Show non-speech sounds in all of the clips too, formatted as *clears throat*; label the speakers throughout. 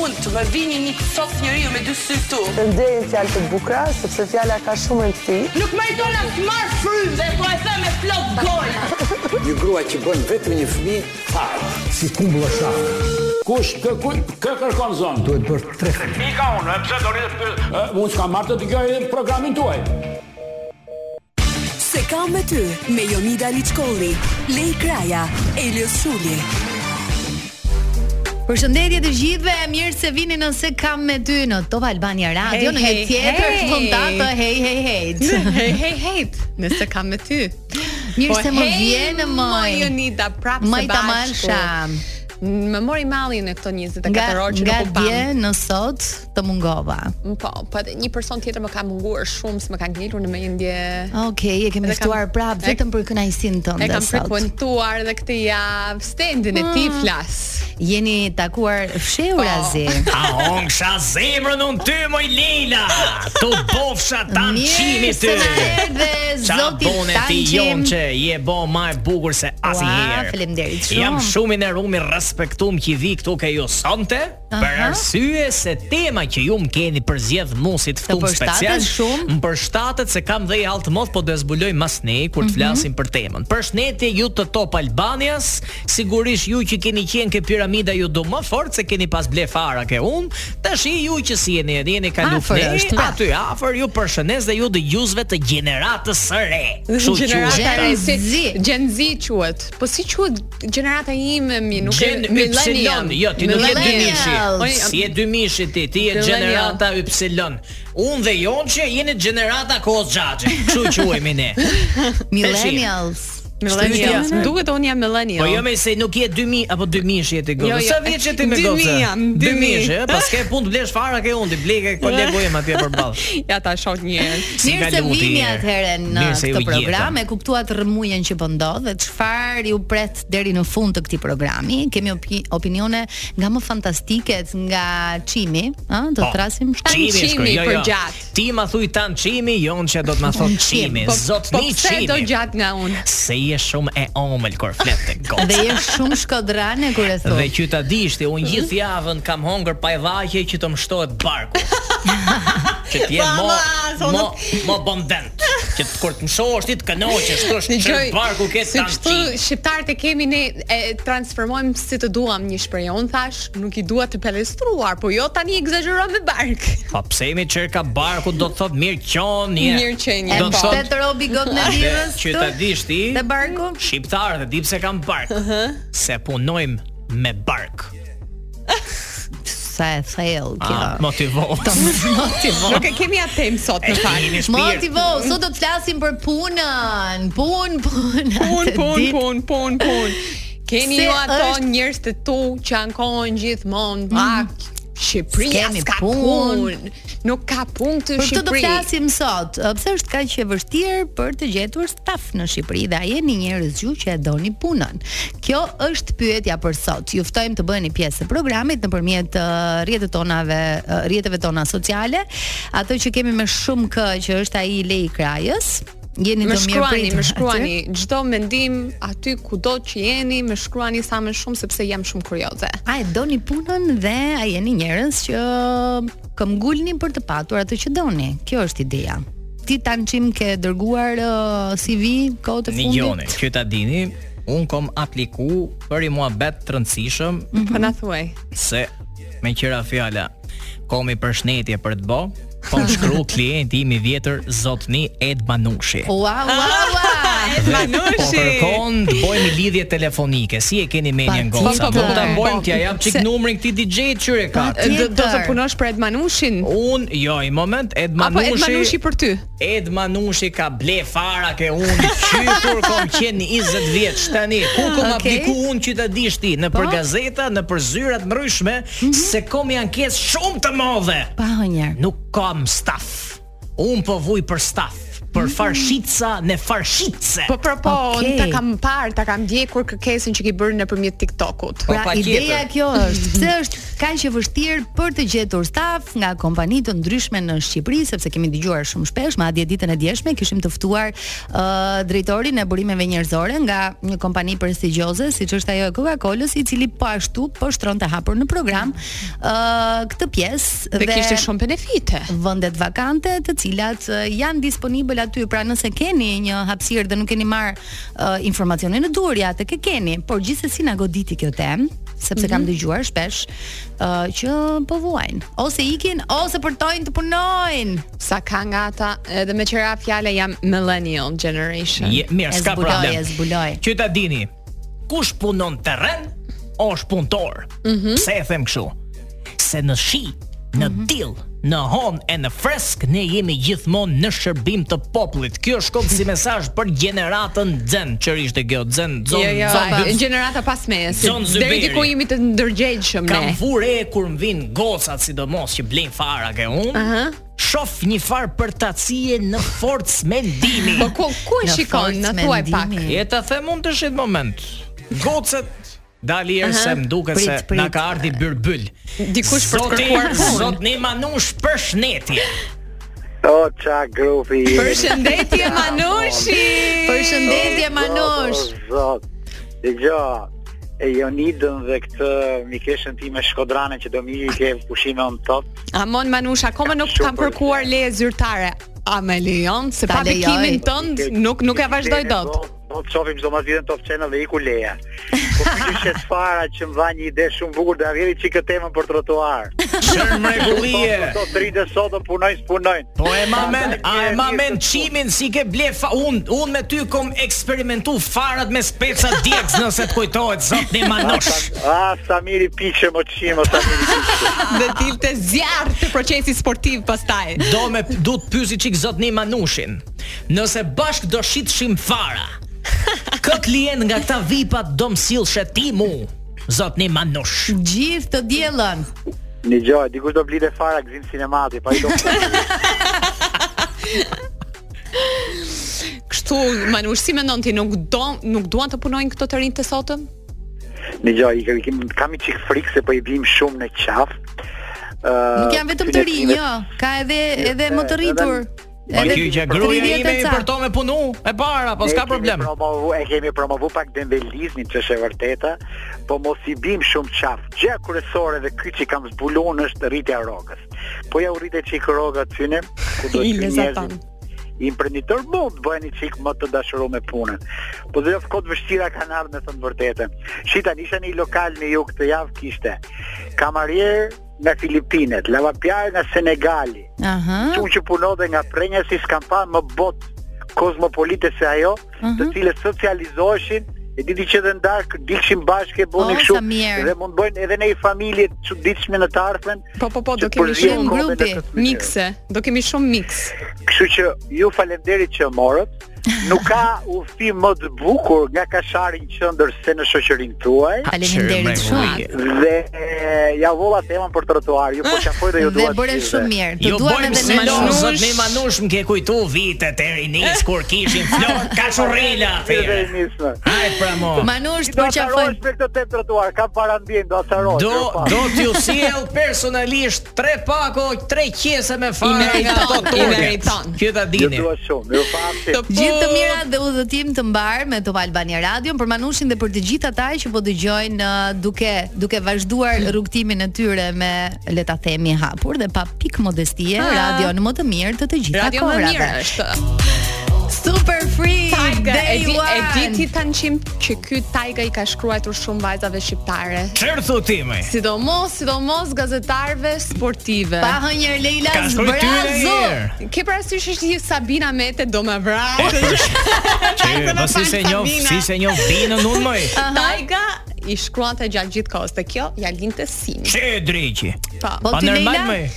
Speaker 1: unë të më vini një sof njeriu me dy sy këtu.
Speaker 2: Të nderin fjalë të bukura, sepse fjala ka shumë rëndësi.
Speaker 1: Nuk më dona të marr frymë dhe po e them me plot gojë.
Speaker 3: Një grua që bën vetëm një fëmijë fare.
Speaker 4: si kumbulla shafë.
Speaker 5: Kush kë kë, kë kërkon zonë?
Speaker 4: Duhet bërë tre
Speaker 5: Mika unë, e pse do një të...
Speaker 6: *laughs*
Speaker 5: Unë s'kam marrë të dëgjoj programin tuaj.
Speaker 7: Se kam me ty me Jonida Liçkolli, Lej Kraja, Elios Shuli.
Speaker 8: Përshëndetje të gjithëve, mirë se vini nëse kam me ty në Top Albania Radio,
Speaker 9: Hey,
Speaker 8: në një
Speaker 9: hey,
Speaker 8: tjetër
Speaker 9: hey. Po,
Speaker 8: kontaktë, hey hey
Speaker 9: *laughs*
Speaker 8: hey.
Speaker 9: Hej, hej, hej, nëse kam me ty. Po
Speaker 8: Mirë se më
Speaker 9: hej,
Speaker 8: vjen moj.
Speaker 9: Jonida, prap se
Speaker 8: Moj
Speaker 9: bashku.
Speaker 8: Tamalsha.
Speaker 9: Më mori malli në këto 24
Speaker 8: Nga
Speaker 9: orë që
Speaker 8: nga
Speaker 9: nuk u
Speaker 8: dje
Speaker 9: pam.
Speaker 8: në sot të mungova.
Speaker 9: Po, po edhe një person tjetër më ka munguar shumë, s'më ka ngelur në mendje.
Speaker 8: Okej, e kemi
Speaker 9: Edhe kam-
Speaker 8: ftuar prap
Speaker 9: e-
Speaker 8: vetëm për kënaqësinë
Speaker 9: E
Speaker 8: tënde
Speaker 9: kam
Speaker 8: sot.
Speaker 9: frekuentuar edhe këtë javë standin e ti
Speaker 8: Mm.
Speaker 9: flas.
Speaker 8: Jeni takuar fshehurazi.
Speaker 6: A ongsha zemrën unë ty, moj Leila Tu bofsha
Speaker 9: Oh.
Speaker 6: tanë qimi ty
Speaker 8: na erdhe
Speaker 6: Qa
Speaker 8: zoti
Speaker 6: bone ti
Speaker 8: Tanqim.
Speaker 6: jonë që je bo ma e bukur se
Speaker 8: Ua,
Speaker 6: asnjëherë.
Speaker 8: faleminderit shumë.
Speaker 6: Jam shumë i nderumi respektum që vi këtu ke ju sonte për
Speaker 8: Aha.
Speaker 6: arsye se tema që ju më keni përzjedh musit
Speaker 8: Të
Speaker 6: ftum
Speaker 8: përshtatet
Speaker 6: special.
Speaker 8: shumë.
Speaker 6: Më përshtatet se kam dhe i altë mot, po do e zbuloj mas ne kur të flasim për temën. Përshëndetje ju të Top Albanias, sigurisht ju që keni qenë ke piramida ju do më fort se keni pas ble fara ke unë. Tashi ju që si jeni, jeni kalu
Speaker 8: Afër është, pra.
Speaker 6: aty afër ju përshënes dhe ju dëgjuesve të gjeneratës së re. Kështu quhet.
Speaker 9: Gjenerata e
Speaker 8: Gen
Speaker 9: si
Speaker 8: Z.
Speaker 9: Gen Z quhet. Po si quhet gjenerata ime mi nuk
Speaker 6: Gen
Speaker 9: e millennium.
Speaker 6: Y, jo, ti nuk je
Speaker 9: Millennium.
Speaker 6: 2000-shi.
Speaker 9: Unë jam-
Speaker 6: Si je 2000-shi ti, ti je
Speaker 9: Millennial.
Speaker 6: gjenerata Y. Unë dhe Jonçe jeni gjenerata kohës xhaxhe. Kështu quhemi ne.
Speaker 8: Millennials.
Speaker 9: Millennial.
Speaker 6: Shtypja.
Speaker 9: Duket un jam millennial.
Speaker 6: Po jo me se nuk je 2000 apo 2000-shi je ti
Speaker 9: Jo,
Speaker 6: gocë.
Speaker 9: jo.
Speaker 6: Sa vjeç je ti me
Speaker 9: 2000
Speaker 6: gocë?
Speaker 9: jam,
Speaker 6: 2000-shi, ë, pas ke punë të blesh fara ke unë, ti ble ke
Speaker 9: Jo.
Speaker 6: kolegojem Po atje
Speaker 9: *laughs*
Speaker 6: përballë.
Speaker 9: Ja ta shoh një herë.
Speaker 6: Si
Speaker 8: Mirë
Speaker 6: ka
Speaker 8: se
Speaker 6: luti
Speaker 8: vini
Speaker 6: herë.
Speaker 8: atëherë në
Speaker 6: Mirë se
Speaker 8: këtë
Speaker 6: ju gjeta.
Speaker 8: program, e kuptuat rrëmujën që po ndodh dhe çfarë ju pret deri në fund të këtij programi. Kemi opi opinione nga më fantastiket nga Çimi, ë,
Speaker 6: Po.
Speaker 8: do të trasim
Speaker 6: Çimi,
Speaker 8: shkak.
Speaker 6: shkoj, jo,
Speaker 9: për
Speaker 6: jo.
Speaker 9: gjatë.
Speaker 6: Ti ma thuj tan çimi, jon që do të ma thot çimi,
Speaker 9: Po, po
Speaker 6: zotni
Speaker 9: pse
Speaker 6: çimi.
Speaker 9: do gjatë nga unë?
Speaker 6: Se je shumë e omël kur flet te gocë.
Speaker 8: Dhe je shumë shkodrane kur e
Speaker 6: Dhe
Speaker 8: thua.
Speaker 6: që ta dishti, unë gjithë javën kam hongër pa e dhaqe që të më shtohet
Speaker 9: *laughs*
Speaker 6: barku. që t'je mo, mo, mo bondent. Që të kur të më shohësh ti të kënoqesh, të shtë
Speaker 9: Dëgjoj,
Speaker 6: barku ke
Speaker 9: se
Speaker 6: të
Speaker 9: kështu shqiptarët e kemi ne e transformojmë si të duam një shprehje. Unë thash, nuk i dua të pelestruar, po jo tani egzageron me
Speaker 8: *laughs*
Speaker 9: bark.
Speaker 6: Pa Po pse mi qërka barku do të thot mirë qonje.
Speaker 9: Mirë qenje,
Speaker 8: E
Speaker 6: Do të
Speaker 9: po.
Speaker 6: thot
Speaker 8: mbështet robi gotën e
Speaker 6: dhe
Speaker 8: virës.
Speaker 6: që ta dishti,
Speaker 8: Te barku.
Speaker 6: shqiptarët e di pse kam bark. Se punojmë me bark.
Speaker 8: Sa e thellë kjo.
Speaker 6: A, motivo. *laughs*
Speaker 8: Të motivo.
Speaker 9: Nuk e kemi atë temë sot
Speaker 6: E
Speaker 9: më fal.
Speaker 6: jeni shpirt.
Speaker 8: Motivo, sot do të flasim për punën, punë, punë.
Speaker 9: Pun,
Speaker 8: atë
Speaker 9: pun,
Speaker 8: ditë.
Speaker 9: pun, pun, pun. Keni
Speaker 8: Se
Speaker 9: ju ato
Speaker 8: është-
Speaker 9: njerëz të tu që ankohen gjithmonë, pak Shqipëria
Speaker 8: S'kemi
Speaker 9: s'ka
Speaker 8: Mhm. punë."
Speaker 9: punë. Nuk ka punë të
Speaker 8: Për këtë do
Speaker 9: Shqipëri.
Speaker 8: flasim sot, ë, pse është kaq e vështirë për të gjetur staf në Shqipëri dhe a jeni njerëz gjuhë që e doni punën. Kjo është pyetja për sot. Ju ftojmë të bëheni pjesë e programit nëpërmjet ë, rrjetet tonave, ë, rrjeteve tona sociale, atë që kemi me shumë kë që është ai Lei Krajës. Jeni
Speaker 9: Më
Speaker 8: të mirë
Speaker 9: shkruani, më shkruani çdo mendim aty kudo që jeni, më shkruani sa më shumë sepse jam shumë kurioze.
Speaker 8: A e doni punën dhe a jeni njerëz që këmbgulni për të patur atë që doni. Kjo është ideja. Ti tanqim ke dërguar uh, CV kohë të fundit?
Speaker 6: Njone, që ta dini, un kom apliku për i muhabet të rëndësishëm
Speaker 9: Po na thuaj.
Speaker 6: se me qira fjala kom i përshëndetje për të bë, po më shkru klienti im i vjetër zotni Ed Manushi.
Speaker 8: Ua, ua, ua.
Speaker 9: Ah,
Speaker 6: Po kërkon të bëjmë lidhje telefonike. Si e keni menjen
Speaker 8: Pa
Speaker 6: goca?
Speaker 8: tjetër.
Speaker 6: Po ta bëjmë t'ja jap çik
Speaker 9: Se-
Speaker 6: numrin këtij DJ qyre ka.
Speaker 8: Pa tjetër.
Speaker 9: Do, do të punosh për Edmanushin?
Speaker 6: Un jo, i moment Ed
Speaker 9: Apo
Speaker 6: Manushi.
Speaker 8: po-
Speaker 9: Edmanushi për ty?
Speaker 6: Ed Manushi ka ble fara ke unë qytur kom qenë një 20 vjeç tani. Ku kom
Speaker 8: Okej.
Speaker 6: apliku unë që ta dish ti në për
Speaker 8: Po? Mhm.
Speaker 6: gazeta, në për zyra të ndryshme, se kom i ankesë shumë të mëdha.
Speaker 8: Pa hënjer.
Speaker 6: Nuk kam staf. Unë po vuj për staf. për farshitsa në farshitse.
Speaker 9: Po po po,
Speaker 8: Okej.
Speaker 9: unë ta kam parë, ta kam ndjekur kërkesën që ki bërë nëpërmjet TikTokut.
Speaker 6: Po,
Speaker 8: Pra
Speaker 6: pa
Speaker 8: ideja
Speaker 6: tjetër.
Speaker 8: kjo
Speaker 6: *laughs*
Speaker 8: është, pse është kaq e vështirë për të gjetur staf nga kompani të ndryshme në Shqipëri, sepse kemi dëgjuar shumë shpesh, madje ditën e djeshme kishim të ftuar ë drejtorin e burimeve njerëzore nga një kompani prestigjioze, siç është ajo e Coca-Colës, i cili po ashtu po shtronte hapur në program ë këtë pjesë
Speaker 9: Dhe kishte shumë benefite.
Speaker 8: vendet vakante të cilat eh, janë disponibël aty. Pra nëse keni një hapësirë dhe nuk keni marr eh, informacionin e dur, ja tek e keni, por gjithsesi na goditi kjo temë sepse kam
Speaker 6: Mhm.
Speaker 8: dëgjuar shpesh eh, që po vuajnë ose ikin ose përtojnë të punojnë.
Speaker 9: Sa ka nga ata, edhe me qëra fjale jam millennial generation.
Speaker 6: Je, mirë,
Speaker 8: E
Speaker 6: s'ka
Speaker 8: zbuloj,
Speaker 6: problem.
Speaker 8: e zbuloj.
Speaker 6: Që ta dini, kush punon terren, është punëtor.
Speaker 9: Mhm.
Speaker 6: Pse e them kështu? Se në shi, në dill, në hon e në fresk ne jemi gjithmonë në shërbim të popullit. Kjo shkon
Speaker 9: *laughs*
Speaker 6: si mesazh për gjeneratën Zen, ç'ishte kjo Zen, Zon,
Speaker 9: Jo, jo,
Speaker 6: Zon,
Speaker 9: ai-
Speaker 6: Zon,
Speaker 9: gjenerata pas mesit.
Speaker 6: Zon
Speaker 9: Deri
Speaker 6: Zyberi.
Speaker 9: diku jemi të ndërgjegjshëm
Speaker 6: Kam
Speaker 9: ne.
Speaker 6: vure kur më vin gocat sidomos që blejn fara ke unë.
Speaker 9: Aha.
Speaker 6: Shof një farë përtacije në forcë
Speaker 9: *laughs*
Speaker 6: mendimi.
Speaker 9: Po ku ku e
Speaker 8: Në
Speaker 9: shikon
Speaker 8: forcë
Speaker 9: na thuaj pak.
Speaker 8: mendimi.
Speaker 6: Je ta them unë të shit moment. Gocët dali erë se më duket se
Speaker 8: Prit, prit.
Speaker 6: na ka ardhi bërbyl.
Speaker 9: Dikush për të
Speaker 6: Zoti-
Speaker 9: kërkuar punë.
Speaker 6: Zot ne manush përshëndetje.
Speaker 3: O, qa grupi
Speaker 8: *laughs*
Speaker 9: Përshëndetje Manushi.
Speaker 8: Përshëndetje Manush.
Speaker 3: Zot, dhe gjo, e Jonidën dhe këtë mikeshën ti me shkodrane që do mi i ke pushime on top.
Speaker 9: Amon Manush, akoma nuk
Speaker 3: Shumë
Speaker 9: kam kërkuar
Speaker 3: përshëndetje.
Speaker 9: leje zyrtare. A me lejon se
Speaker 8: Ta
Speaker 9: pa
Speaker 8: lejoj.
Speaker 9: bekimin tënd nuk nuk e vazhdoj dot.
Speaker 3: Po të shofim çdo mazhitën Top Channel dhe iku leja. Po pyetje se fara që më dha një ide shumë bukur dhe arriti çikë temën për
Speaker 9: *laughs*
Speaker 3: trotuar.
Speaker 6: Çfarë mrekullie.
Speaker 3: Sot dritë sot do punojnë, punojnë.
Speaker 6: Po e ma men, a e ma men qimin si ke ble fa, un, un me ty kom eksperimentu farat me speca djeks nëse të kujtohet zot ne manush.
Speaker 3: Ah, Samiri piqe më çim, Samiri
Speaker 9: *laughs*
Speaker 3: piqe.
Speaker 9: Dhe dilte zjarr të procesi sportiv pastaj.
Speaker 6: Do me du të pyesi çik zot ne manushin. Nëse bashk do shitshim
Speaker 8: *laughs*
Speaker 6: fara. Kë klient nga këta vipat do msillshe ti mu. Zot ne manush.
Speaker 8: po. Gjithë të diellën.
Speaker 3: Një gjoj, dikush do blite fara gzim sinemati, pa i do
Speaker 9: Kështu Manush, si mendon ti nuk do nuk duan të punojnë këto të rinjtë të sotëm?
Speaker 3: Një gjoj, i ke- kim- kam i çik frikë se po i bim shumë në qaf. Uh,
Speaker 8: Nuk janë vetëm të rinj, jo, ka edhe edhe më të rritur.
Speaker 3: Po,
Speaker 8: Edhe
Speaker 3: kjo që
Speaker 6: gruaja
Speaker 8: 30 e
Speaker 6: ime i
Speaker 8: ca.
Speaker 6: përto me punu e para, po
Speaker 3: Ne
Speaker 6: s'ka
Speaker 3: kemi
Speaker 6: problem.
Speaker 3: Promovu, e kemi promovu pak dembelizmin, që është e vërteta, po mos i bim shumë qaf. Gjë kryesore dhe ky që kam zbuluar është rritja e rrogës. Po ja u rritet çik rroga aty ne, ku
Speaker 6: *laughs*
Speaker 3: do të
Speaker 9: Ile
Speaker 3: hyjnë
Speaker 9: satan.
Speaker 3: njerëzit. Imprenditor mund të bëheni çik më të dashuruar me punën. Po dhe kohë të vështira kanë ardhur me thënë të vërtetën. Shita isha në një lokal në ju këtë javë kishte kamarier nga Filipinet, lavapjar nga Senegali,
Speaker 8: Aha.
Speaker 3: Unë që punove nga prenja si s'kam pa më bot kozmopolite se ajo,
Speaker 8: Mhm.
Speaker 3: të cilët socializoheshin, e diti që dhe ndark dilshin bashkë e boni
Speaker 8: O,
Speaker 3: kështu
Speaker 8: sa mirë.
Speaker 3: dhe mund bëjnë edhe në një familje të çuditshme në të ardhmen.
Speaker 9: Po po po,
Speaker 3: që
Speaker 9: do kemi
Speaker 3: përzien
Speaker 9: shumë
Speaker 3: kohën e
Speaker 8: grupi,
Speaker 3: këtë mënyrë.
Speaker 9: mikse, do kemi shumë miks.
Speaker 3: Kështu që ju falenderit që
Speaker 8: *laughs*
Speaker 3: morët. Nuk ka udhëtim më të bukur nga Kasharin qendër se në shoqërinë tuaj.
Speaker 8: Faleminderit shumë.
Speaker 3: Dhe e, ja volla temën për trotuar. Ju po qafoj dhe ju
Speaker 8: Ah, Dhe
Speaker 3: dua. të
Speaker 8: bëre
Speaker 3: gjithëve.
Speaker 8: shumë mirë. Të
Speaker 6: Jo
Speaker 8: duam
Speaker 6: bojmë
Speaker 8: edhe
Speaker 6: se
Speaker 8: ne
Speaker 6: lo,
Speaker 8: manush.
Speaker 6: zot ne manush më ke kujtu vitet e rinis kur kishin
Speaker 8: *laughs*
Speaker 6: flor kaçurrela
Speaker 3: Dhe
Speaker 6: thirë.
Speaker 3: nismë.
Speaker 6: Hajt pra mo.
Speaker 8: Manush
Speaker 3: Do
Speaker 8: po
Speaker 3: të
Speaker 8: qafojmë.
Speaker 3: harosh me këtë temp trotuar, ka para ndjen, do të harosh.
Speaker 6: Do
Speaker 3: jo pa.
Speaker 6: do t'ju sjell personalisht tre pako, tre qese me
Speaker 9: I
Speaker 6: fare nga
Speaker 9: meriton,
Speaker 6: ato
Speaker 9: i meriton.
Speaker 6: turke. Kjo ta
Speaker 3: Ju
Speaker 6: dini.
Speaker 3: dua shumë, ju
Speaker 9: Të
Speaker 3: falim.
Speaker 8: Gjithë
Speaker 9: po-
Speaker 8: të mirat dhe udhëtim të mbar me Top Albania Radio për Manushin dhe për të gjithë ata që po dëgjojnë uh, duke duke vazhduar rrugtimin e tyre me le ta themi hapur dhe pa pikë modestie,
Speaker 9: Ha.
Speaker 8: radion më të mirë të të gjitha
Speaker 9: Radio më mirë
Speaker 8: kohrave.
Speaker 9: është.
Speaker 8: Super free
Speaker 9: Tajga,
Speaker 8: day
Speaker 9: e di, e di ti
Speaker 8: one.
Speaker 9: tanë qim që ky Tajga i ka shkruar shumë vajzave shqiptare.
Speaker 6: Çfarë thu ti më?
Speaker 9: Sidomos, sidomos gazetarve sportive.
Speaker 8: Pa hënjër Leila
Speaker 6: Ka shkruaj tyre një
Speaker 8: zbrazo.
Speaker 6: herë.
Speaker 9: Ke parasysh është një Sabina Mete do me vraj.
Speaker 6: Që po si
Speaker 9: fal
Speaker 6: se njoh,
Speaker 9: Sabina.
Speaker 6: si se njoh vinën unë më.
Speaker 9: Tajga i shkruante gjatë gjithë kohës dhe kjo ja linte sinin.
Speaker 6: Çe drejti.
Speaker 9: Pa.
Speaker 8: Po
Speaker 6: Pa
Speaker 8: ti
Speaker 6: normal
Speaker 8: Leila?
Speaker 6: më.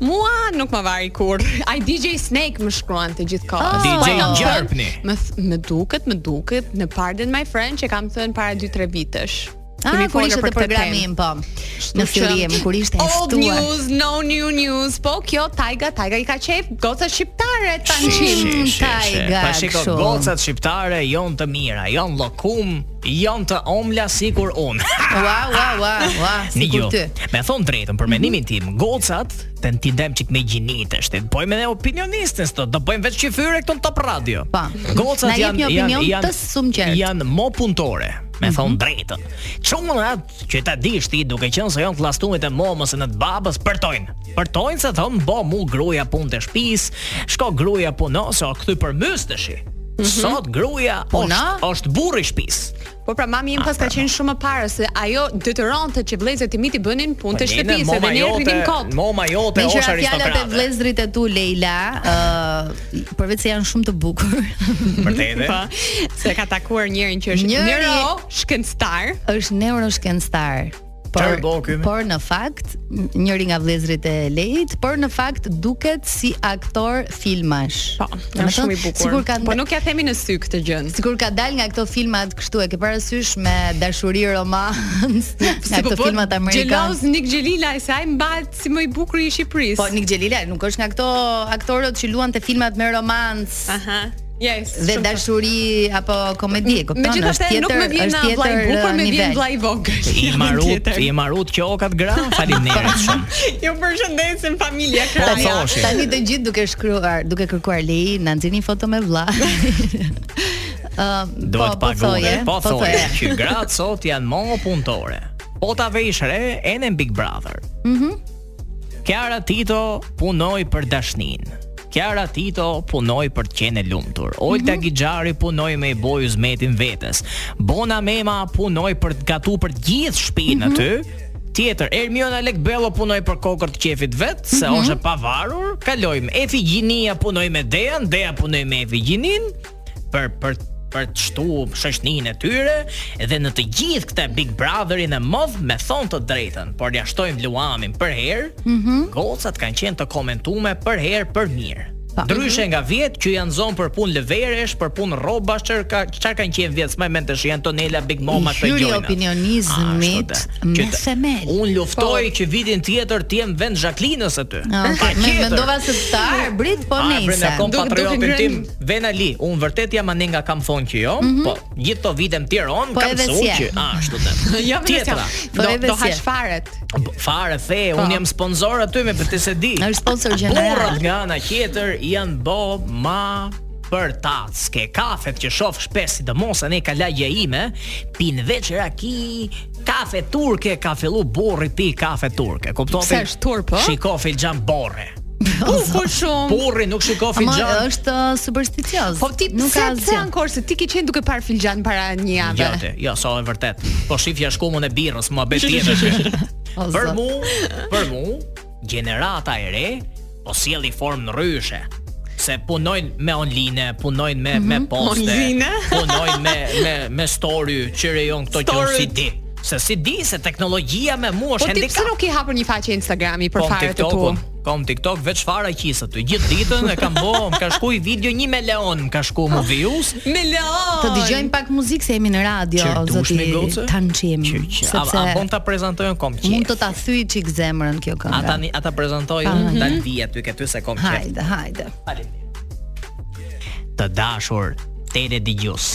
Speaker 9: Mua nuk më vari kur. Ai DJ Snake më shkruante gjithë kohës.
Speaker 8: Oh.
Speaker 9: Po,
Speaker 6: DJ
Speaker 9: jam thënë,
Speaker 6: Gjarpni.
Speaker 9: Më th- më duket, më duket në Pardon My Friend që kam thënë para 2-3 vitesh.
Speaker 8: Ah,
Speaker 9: kemi
Speaker 8: kur
Speaker 9: folur
Speaker 8: ishte të
Speaker 9: për këtë temë.
Speaker 8: programim, po. Në
Speaker 9: Kështu që,
Speaker 8: fillim kur ishte e
Speaker 9: Old
Speaker 8: ftuar.
Speaker 9: news, no new news. Po kjo Taiga, Taiga i ka qef goca shqiptare tanqim.
Speaker 8: shi. Taiga,
Speaker 6: Pa shiko
Speaker 8: kështu.
Speaker 6: gocat shqiptare jon të mira, jon llokum, jon të omla sikur unë. *laughs*
Speaker 8: Ua, ua, ua, ua, si
Speaker 6: Nijo,
Speaker 8: kur ty. Mhm.
Speaker 6: me thon drejtën për mendimin tim, gocat të në t'i dem çik me gjinit Po e shtet, bojmë edhe opinionistës të, do bëjmë vetë qyfyre këtu në top radio.
Speaker 8: Pa. Na
Speaker 6: Gocat
Speaker 8: jep
Speaker 6: janë
Speaker 8: një
Speaker 6: janë
Speaker 8: opinion
Speaker 6: janë
Speaker 8: të Mhm. sumqert.
Speaker 6: janë mo punëtore, me thon drejtën. Çunat që ta dish ti duke qenë se janë të llastumet e momës e në të babës përtojnë. Përtojnë se thon bo mu gruaja punë të shtëpis, shko gruaja punon, se o kthy për mysteshi.
Speaker 8: Mhm.
Speaker 6: Sot gruaja
Speaker 8: Puno?
Speaker 6: është është burri i shtëpisë.
Speaker 9: Po pra mami im pas ka qenë shumë më parë se ajo detyronte që vëllezërit e mi ti bënin punë të
Speaker 6: Po, nene,
Speaker 9: shtëpisë
Speaker 6: moma
Speaker 9: dhe ne rrinim
Speaker 6: jote-
Speaker 9: kot.
Speaker 6: Moma jote
Speaker 8: Me
Speaker 6: është
Speaker 8: qëra fjallat e
Speaker 6: aristokrate.
Speaker 8: vlezrit e tu,
Speaker 6: *laughs*
Speaker 8: Leila, uh, përveç se janë shumë të bukur,
Speaker 6: Vërtetë.
Speaker 9: Po, se ka takuar njërin që është
Speaker 8: Njëri-
Speaker 9: neuro shkencëtar.
Speaker 8: është neuroshkencëtar.
Speaker 6: Çfarë bëu ky, me?
Speaker 8: por në fakt, n- njëri nga vlezrit e Leit, por në fakt duket si aktor filmash.
Speaker 9: Po,
Speaker 8: Do me
Speaker 9: është shumë
Speaker 8: thënë,
Speaker 9: i bukur.
Speaker 8: Sikur ka
Speaker 9: po nuk ja themi në sy këtë gjë.
Speaker 8: Sikur ka dal nga këto filmat kështu e ke parasysh me dashuri
Speaker 9: *laughs*
Speaker 8: romans, nga këto filmat amerikan.
Speaker 9: po Gjeloz Nik Gjelila se ai mbahet si më i bukur i Shqipërisë.
Speaker 8: Po Nik Xhelila nuk është nga këto aktorët që luan te filmat me romans
Speaker 9: Aha. Yes.
Speaker 8: dhe
Speaker 9: shumë
Speaker 8: dashuri apo komedi, e kupton?
Speaker 9: Megjithatë
Speaker 8: Është
Speaker 9: nuk më
Speaker 8: tjetër,
Speaker 9: vjen
Speaker 8: është
Speaker 9: na vllai i
Speaker 8: tjetër
Speaker 9: bukur,
Speaker 8: uh,
Speaker 9: më vjen
Speaker 8: nivel.
Speaker 9: vllai i vogël.
Speaker 6: I
Speaker 9: Javën
Speaker 6: marut,
Speaker 9: tjetër.
Speaker 6: i marut qokat gra, faleminderit shumë.
Speaker 9: Ju përshëndesim familja
Speaker 6: Po
Speaker 9: Kraja.
Speaker 6: thosh.
Speaker 8: Tani të gjithë duke shkruar, duke kërkuar leji, na nxjini foto me
Speaker 6: *laughs*
Speaker 8: vlla. Ëm,
Speaker 6: Duhet
Speaker 8: po, po thoje,
Speaker 6: paguar. Po thoje që gratë sot janë më punëtore. Po ta vesh re ene në Big Brother. Mhm. Kiara Tito punoi për dashninë. Kiara Tito punoi për të qenë e lumtur. Olta Gixhari punoi me i boj uzmetin vetes. Bona Mema punoi për të gatu për të gjithë shtëpinë aty. Tjetër, Ermiona Lekbello punoi për kokër të qefit vet, se është e pavarur. Kalojmë Efi Gjinia punoi me Dean, Dea punoi me Efi Gjinin për për për të shtu shoqëninë e tyre dhe në të gjithë këtë Big Brotherin e mov me thon të drejtën, por ja shtojmë Luamin për herë.
Speaker 8: Mhm.
Speaker 6: Gocat kanë qenë të komentume për herë për mirë.
Speaker 8: Pa. Mhm.
Speaker 6: Ndryshe nga vjet që janë zonë për punë lëveresh, për punë rrobash, çfarë ka çfarë kanë qenë vjet më mend të shihen Tonela Big Mama
Speaker 8: I
Speaker 6: të Ah,
Speaker 8: hyri
Speaker 6: gjojna.
Speaker 8: opinionizmit
Speaker 6: Ashtu da.
Speaker 8: me
Speaker 6: Që të-
Speaker 8: themel.
Speaker 6: Unë luftoj që vitin tjetër të jem vend Jacquelinës aty.
Speaker 8: Okay,
Speaker 6: Pa
Speaker 8: Ah, me
Speaker 6: tjetër.
Speaker 8: mendova se ta arbrit, po
Speaker 6: A, brenda
Speaker 8: nejse.
Speaker 6: kom
Speaker 9: Duke-
Speaker 6: patriotin
Speaker 9: duke
Speaker 6: tim
Speaker 9: ngrënë-
Speaker 6: Ven Ali, unë vërtet jam anë nga kam thonë që jo, po gjithë këto vite në Tiranë
Speaker 8: Mhm. Po
Speaker 6: kam
Speaker 8: edhe
Speaker 6: thonë
Speaker 8: si e.
Speaker 6: që Ah, ashtu të.
Speaker 8: *laughs*
Speaker 9: Jo, më
Speaker 6: Tjetra,
Speaker 8: Po
Speaker 9: Do
Speaker 8: edhe
Speaker 9: do
Speaker 8: si e. Po.
Speaker 9: hash faret.
Speaker 6: b- fare the, unë jam sponsor aty me për të se di.
Speaker 8: Është sponsor gjeneral.
Speaker 6: Burrat nga ana tjetër janë bo ma për tac, ke kafet që shoh shpesh sidomos anë ka lagja ime, pin veç raki, kafe turke, ka fillu burri pi kafe turke. Kupton?
Speaker 9: Pse është turp, ë?
Speaker 6: Shiko filxhan borre.
Speaker 9: *laughs* Po po shumë.
Speaker 6: Burri nuk shiko
Speaker 8: Ama
Speaker 6: filxhan.
Speaker 8: është uh, supersticioz.
Speaker 9: Po ti
Speaker 8: nuk
Speaker 9: pse
Speaker 8: ka
Speaker 9: pse
Speaker 8: asgjë.
Speaker 9: ankor se ti ke qenë duke parë filxhan para një jave.
Speaker 6: Gjatë, jo, sa e vërtet. Po shifja shkumën e birrës, mua bet
Speaker 9: *laughs*
Speaker 6: tjetër.
Speaker 8: O,
Speaker 6: për
Speaker 8: zot.
Speaker 6: mu, për mu, gjenerata e re po sjelli formë rryshe se punojnë me online, punojnë me me poste,
Speaker 9: Mhm, Online.
Speaker 6: *laughs* punojnë me me me story që rejon këto që
Speaker 9: Story.
Speaker 6: si di. Se si di se teknologjia me mua
Speaker 9: Po
Speaker 6: është
Speaker 9: ti pse
Speaker 6: handicap. Po,
Speaker 9: nuk i hapur një faqe Instagrami për
Speaker 6: Kom
Speaker 9: fare të tu?
Speaker 6: TikTokun, kom TikTok veç fara qis aty. Gjithë ditën e kam bë, më ka shkuj video 1 me Leon, më ka shku
Speaker 9: Ah.
Speaker 6: mu views,
Speaker 9: Me leon.
Speaker 8: Të dëgjojmë pak muzikë se jemi në radio,
Speaker 6: Që
Speaker 8: o
Speaker 6: dush me
Speaker 8: zoti
Speaker 6: gocë?
Speaker 8: Tançim.
Speaker 6: Që që a, a bon
Speaker 8: Sepse
Speaker 6: ta prezantojnë kom qef.
Speaker 8: mund të ta thyj çik zemrën kjo këngë.
Speaker 6: Ata ni ata prezantoj
Speaker 8: Pa,
Speaker 6: unë
Speaker 8: mhm.
Speaker 6: dal vi aty këty se kom qef.
Speaker 8: Hajde, hajde.
Speaker 6: Faleminderit. Të dashur tele dëgjues.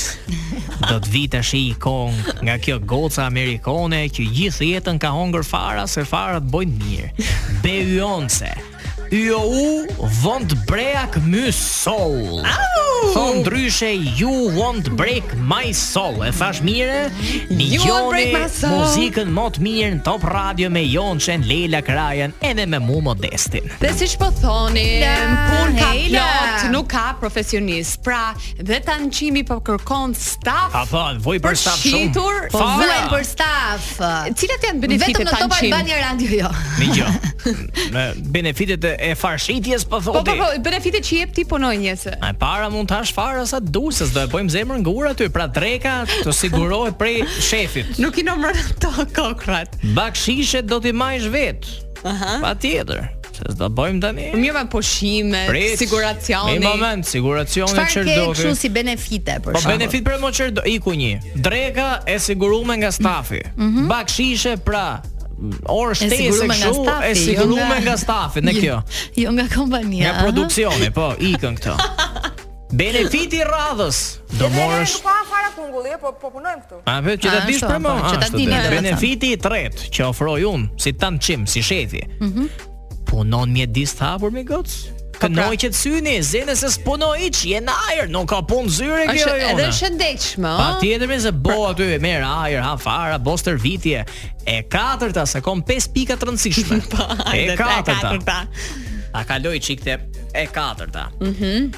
Speaker 6: Do të vi tash i kong nga kjo goca amerikane që gjithë jetën ka hongër fara se farat bojnë mirë. Beyoncé. You won't break my soul. Thon ndryshe you won't break my soul. E thash mire?
Speaker 9: You won't break
Speaker 6: Dëgjoni
Speaker 9: my soul.
Speaker 6: muzikën më të mirë në Top Radio me Jonçen, Leila Krajen edhe me mu Modestin.
Speaker 9: Dhe siç po thoni,
Speaker 8: La,
Speaker 9: punë ka
Speaker 8: hejla.
Speaker 9: plot, nuk ka profesionist. Pra, dhe tanqimi po kërkon staf.
Speaker 6: A po, voj për staf shumë.
Speaker 9: Shitur,
Speaker 8: Po
Speaker 6: Fara.
Speaker 8: vuajn për staf.
Speaker 9: Cilat janë benefitet
Speaker 8: Vetëm në Top
Speaker 9: tanqim?
Speaker 8: Albania Radio jo.
Speaker 6: Me gjë. Në benefitet e e farshitjes po
Speaker 9: Po po
Speaker 6: thotë.
Speaker 9: po, benefitet që jep ti punonjëse.
Speaker 8: po.
Speaker 6: A e para mund të hash fara sa të dush, se s'do e bëjmë zemrën ngur aty, pra dreka të sigurohet prej shefit.
Speaker 9: Nuk *laughs* i nomron ato kokrat.
Speaker 6: Bak shishe do t'i majsh vet. Aha. Patjetër. Se se do bëjmë tani.
Speaker 9: Po mirë, po pushime,
Speaker 6: Prit.
Speaker 9: siguracioni.
Speaker 6: Në moment, siguracioni
Speaker 8: Çfarë ke kështu
Speaker 6: Çerdovi.
Speaker 8: si benefite për
Speaker 6: Po
Speaker 8: shembull?
Speaker 6: benefit për më Çerdo, iku një. Dreka e sigurume nga stafi. Bak shishe pra orë shtesë
Speaker 8: Mhm. sigurume nga
Speaker 6: kështu
Speaker 8: stafi,
Speaker 6: e
Speaker 8: jo
Speaker 6: sigurume
Speaker 8: *laughs* nga-
Speaker 6: nga stafi në
Speaker 8: Jo-
Speaker 6: kjo.
Speaker 8: *laughs* Jo nga kompania.
Speaker 6: Nga
Speaker 8: aha.
Speaker 6: produksioni, po, ikën
Speaker 8: *laughs*
Speaker 6: këto. Benefiti i radhës. Do morësh
Speaker 4: Nuk ka fara kungulli, po po punojmë këtu.
Speaker 6: A vetë që ta
Speaker 8: A,
Speaker 6: dish
Speaker 8: ashtu,
Speaker 6: për më,
Speaker 8: po, që ta
Speaker 6: ashtu,
Speaker 8: dini,
Speaker 6: dhe.
Speaker 8: domethënë.
Speaker 6: Benefiti i tretë që ofroj unë, si tançim, si shefi.
Speaker 8: Mhm.
Speaker 6: Punon mjedis të hapur me gocë.
Speaker 8: Po, pra.
Speaker 6: Kënoj që të syni, zene se s'punoj hiç, je në ajër, nuk ka punë zyre kjo
Speaker 9: Është
Speaker 6: jona.
Speaker 9: edhe shëndetshme,
Speaker 8: Oh.
Speaker 6: Pa
Speaker 9: ëh.
Speaker 6: tjetër me se bo aty e merë ajër, ha fara, bo stërvitje E katërta se kom 5 pika të rëndësishme
Speaker 9: *laughs*
Speaker 8: *laughs* Po,
Speaker 9: Pa, hajde,
Speaker 6: E katërta
Speaker 9: katërta.
Speaker 6: A kaloj qikte e katërta Mhm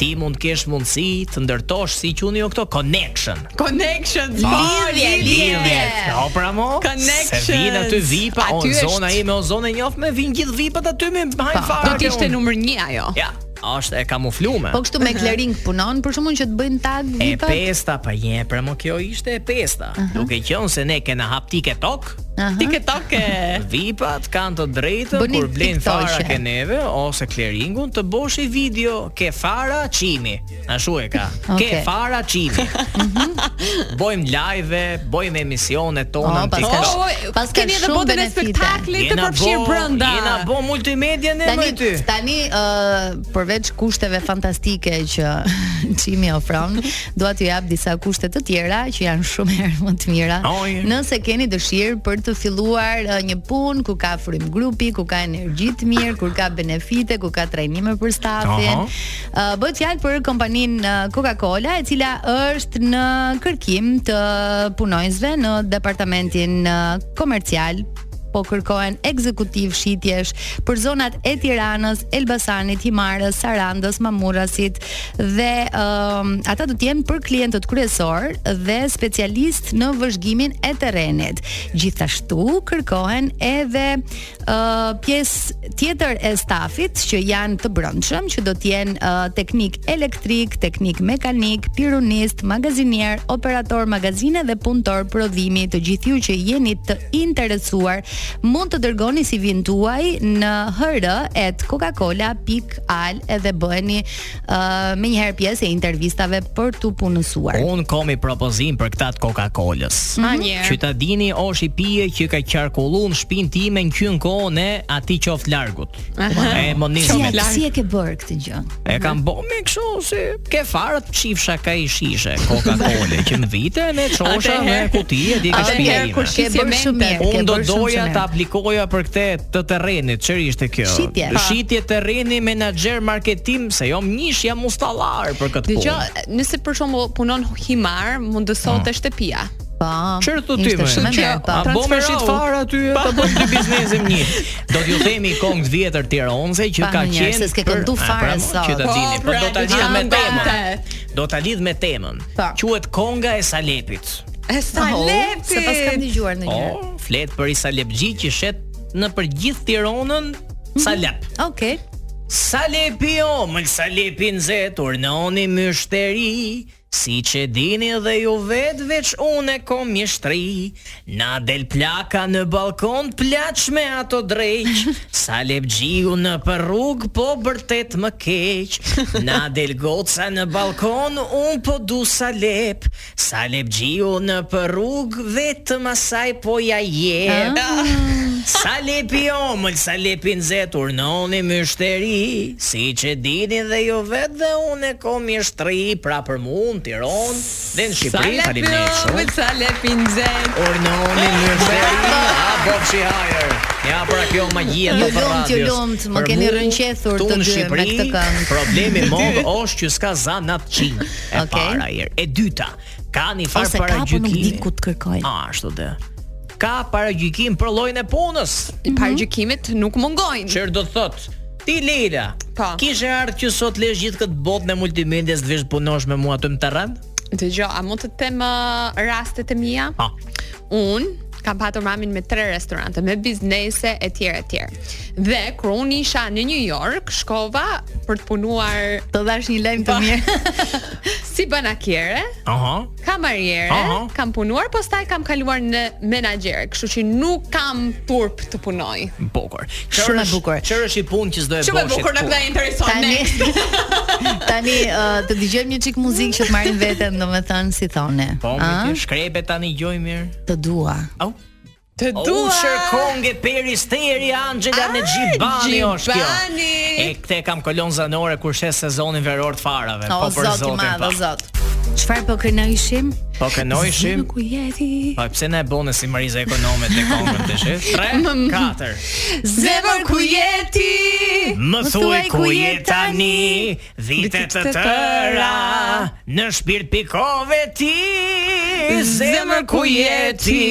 Speaker 6: Ti mund kesh mundësi të ndërtosh si qunë jo këto connection
Speaker 9: Connection,
Speaker 8: Lidhje, lidhje.
Speaker 6: Po pra mo
Speaker 9: Connections.
Speaker 6: Se vinë aty vipa O
Speaker 9: Aty
Speaker 6: në
Speaker 9: është-
Speaker 6: zona ime, o zonë e njoft me vinë gjithë vipat aty me hajnë fara
Speaker 9: Do
Speaker 6: ke
Speaker 9: të ishte
Speaker 6: unë.
Speaker 9: numër 1 ajo.
Speaker 6: Ja, është e kamuflume
Speaker 8: Po kështu
Speaker 6: *laughs*
Speaker 8: me clearing punon, për shkakun që të bëjnë tag
Speaker 6: E
Speaker 8: vipat.
Speaker 6: pesta, pa je, pra mo kjo ishte e pesta Duke qënë se ne kena hap tike tok
Speaker 8: Aha.
Speaker 9: TikTok e
Speaker 6: Vipat kanë të drejtën
Speaker 8: Bëni
Speaker 6: kur blejnë
Speaker 8: TikTok-e.
Speaker 6: fara ke neve ose kleringun të bosh i video ke fara çimi. Ashtu e
Speaker 8: *laughs*
Speaker 6: ka.
Speaker 8: Okej.
Speaker 6: Ke fara
Speaker 8: *laughs*
Speaker 6: çimi. *laughs* Bojmë live, bojmë emisionet tona
Speaker 8: Mhm. O,
Speaker 6: në
Speaker 8: pas ka
Speaker 6: TikTok.
Speaker 8: shumë Pas ka
Speaker 9: Oh, keni edhe
Speaker 8: shumë
Speaker 9: botën e
Speaker 8: benefite.
Speaker 9: spektaklit të përfshirë brenda.
Speaker 6: Jena bo multimedia ne më
Speaker 8: Tani
Speaker 6: ty.
Speaker 8: tani uh, përveç kushteve fantastike që *laughs* Çimi ofron, dua t'ju jap disa kushte të tjera që janë shumë herë më të mira.
Speaker 6: Oj.
Speaker 8: Nëse keni dëshirë për të filluar uh, një punë ku ka frym grupi, ku ka energji të mirë, kur ka benefite, ku ka trajnime për stafin.
Speaker 6: Aha.
Speaker 8: Uh, bëhet fjalë për kompaninë uh, Coca-Cola, e cila është në kërkim të punonjësve në departamentin uh, komercial po kërkohen ekzekutiv shitjesh për zonat e Tiranës, Elbasanit, Himarës, Sarandës, Mamurasit dhe um, ata do të jenë për klientët kryesor dhe specialist në vëzhgimin e terrenit. Gjithashtu kërkohen edhe uh, pjesë tjetër e stafit që janë të brëndshëm që do të jenë uh, teknik elektrik, teknik mekanik, pirunist, magazinier, operator magazine dhe punëtor prodhimi. Të gjithë ju që jeni të interesuar mund të dërgoni CV-n tuaj në hr@coca-cola.al edhe bëheni uh, me njëherë pjesë e intervistave për tu punësuar. Mhm.
Speaker 6: Un kam i propozim për këtë të Coca-Colës.
Speaker 9: Ma njerë.
Speaker 6: Që ta dini është i pije që ka qarkulluar në shtëpinë time në qyn kohën e atij qoftë largut. E
Speaker 8: Si,
Speaker 6: monizmit.
Speaker 8: e- si e ke bërë këtë gjë?
Speaker 6: E kam bo me kështu si ke farët qifsha ka i shishe Coca-Cola që në vite ne çosha me
Speaker 9: Atëherë-
Speaker 6: kuti e di ka
Speaker 9: Atëherë
Speaker 6: shpia
Speaker 9: kur
Speaker 6: ime.
Speaker 9: shi-
Speaker 8: Ke bërë shumë mirë.
Speaker 6: Unë
Speaker 8: ke
Speaker 6: do
Speaker 8: bërë shumë,
Speaker 6: doja
Speaker 8: shumë
Speaker 6: ta
Speaker 8: mirë.
Speaker 6: aplikoja për këtë të terrenit, çfarë ishte kjo?
Speaker 8: Shitje. Pa.
Speaker 6: Shitje terreni, menaxher marketim, se jam mish, jam ustallar për këtë
Speaker 9: Dgjoj,
Speaker 6: punë.
Speaker 9: nëse për shembull punon himar, mund të
Speaker 6: Ah.
Speaker 9: sotë shtëpia.
Speaker 8: Po.
Speaker 6: Çfarë thu ti
Speaker 8: ishte
Speaker 6: më?
Speaker 8: Shumë e mirë, po.
Speaker 6: A bo me shit fare aty e ta bëjmë dy biznesin një. *laughs* Do t'ju themi kong të vjetër Tiranëse që
Speaker 8: Pa,
Speaker 6: ka
Speaker 8: më njerë,
Speaker 6: qenë
Speaker 8: se s'ke
Speaker 6: për-
Speaker 8: këndu
Speaker 6: A,
Speaker 8: fare
Speaker 6: pra, mo,
Speaker 8: sot.
Speaker 6: Që ta
Speaker 9: Po,
Speaker 6: dini, po
Speaker 9: pra,
Speaker 6: do ta
Speaker 9: të
Speaker 6: lidh me
Speaker 9: gjithë
Speaker 6: temën.
Speaker 9: kontent.
Speaker 6: Do ta lidh me temën.
Speaker 8: Pa.
Speaker 6: Quhet konga e Salepit.
Speaker 9: E sa lepi.
Speaker 8: Se pas kam dëgjuar
Speaker 6: Po,
Speaker 8: ndonjëherë.
Speaker 6: flet për i Salepxhi që shet në për gjithë Tiranën Salep.
Speaker 8: Okej.
Speaker 6: Salepi o, mël Salepi nze, turnoni myshteri, si që dini dhe ju vetë veç unë e kom mjeshtri, na del plaka në balkon, plaç me ato drejq, Salep gjiu në për rrug, po bërtet më keq, na del goca në balkon, unë po du Salep, Salep gjiu në për rrug, vetëm asaj po ja jep. Sa lepi omël, sa lepi nze, turnoni myshteri Si që dini dhe ju vetë dhe unë e kom mjeshtri Pra për mund, Tiron dhe në
Speaker 9: Sa
Speaker 6: Shqipëri
Speaker 9: lepi,
Speaker 6: Falim shumë
Speaker 9: sa lepi nxen.
Speaker 6: Urnoni myshteri *laughs* A bofshi hajër Ja pra kjo magjia
Speaker 8: Ju
Speaker 6: e Top
Speaker 8: lumt, ju
Speaker 6: Radios.
Speaker 8: lumt, më
Speaker 6: Për
Speaker 8: keni
Speaker 6: mu,
Speaker 8: rënqethur
Speaker 6: këtu
Speaker 8: të
Speaker 6: në
Speaker 8: dy me
Speaker 6: Shqipëri,
Speaker 8: këtë këngë.
Speaker 6: Problemi
Speaker 8: *laughs*
Speaker 6: modh është që s'ka zanat qinj E
Speaker 8: Okej.
Speaker 6: para herë E dyta Ka një
Speaker 8: Ose
Speaker 6: farë
Speaker 8: ka,
Speaker 6: para
Speaker 8: po nuk di ku të kërkoj.
Speaker 6: A, ashtu dhe Ka paragjykim për llojin e punës.
Speaker 9: Pargjykimet Mm-hmm. nuk mungojnë.
Speaker 6: Çer do të thot Ti Leila,
Speaker 8: Po.
Speaker 9: Pa.
Speaker 6: kishe ardhur që sot lesh gjithë këtë botë në multimedias të vesh punosh me mua aty në terren?
Speaker 9: Dgjoj, a mund të them ë, rastet e mia?
Speaker 6: Po.
Speaker 9: Un kam patur mamin me tre restorante, me biznese etj etj. Dhe kur un isha në New York, shkova për të punuar
Speaker 8: Të dash një lajm të mirë. *laughs*
Speaker 9: si *laughs* si banakjere,
Speaker 6: Aha.
Speaker 9: kamariere,
Speaker 6: Aha.
Speaker 9: kam punuar, pastaj kam kaluar në menaxhere, kështu që nuk kam turp të punoj.
Speaker 6: Bukur.
Speaker 8: Shumë e bukur.
Speaker 6: Çfarë është i punë që s'do e bësh?
Speaker 9: Shumë e bukur na
Speaker 6: kur?
Speaker 9: këtë intereson.
Speaker 8: Tani
Speaker 9: ne.
Speaker 8: tani ë, të dëgjojmë një çik muzikë që të marrim veten, domethënë si thone.
Speaker 6: Po, me
Speaker 8: A?
Speaker 6: ti shkrebe tani gjoj mirë.
Speaker 8: Të dua.
Speaker 6: Au.
Speaker 9: Të dua.
Speaker 6: Usher Konge Peristeri Angela
Speaker 9: Ah,
Speaker 6: në Gjibani është kjo.
Speaker 9: Gjibani.
Speaker 6: E këtë e kam kolon zanore kur shes sezonin veror të farave.
Speaker 8: O
Speaker 6: po për
Speaker 8: zot i
Speaker 6: zotin.
Speaker 8: madh, o
Speaker 6: pa.
Speaker 8: zot. Çfarë po kënaqeshim?
Speaker 6: Po kënojshim.
Speaker 8: Zëmë ku jeti?
Speaker 6: Po pse na e bone si Mariza Ekonome te Kongën të shef?
Speaker 8: *laughs*
Speaker 6: 3
Speaker 8: M-m-m.
Speaker 6: 4
Speaker 8: Zemër ku je ti?
Speaker 6: Më thuaj ku je tani Vitet të
Speaker 9: Vitet të
Speaker 6: tëra
Speaker 9: tëra,
Speaker 6: Në shpirt pikove ti Zemër ku je ti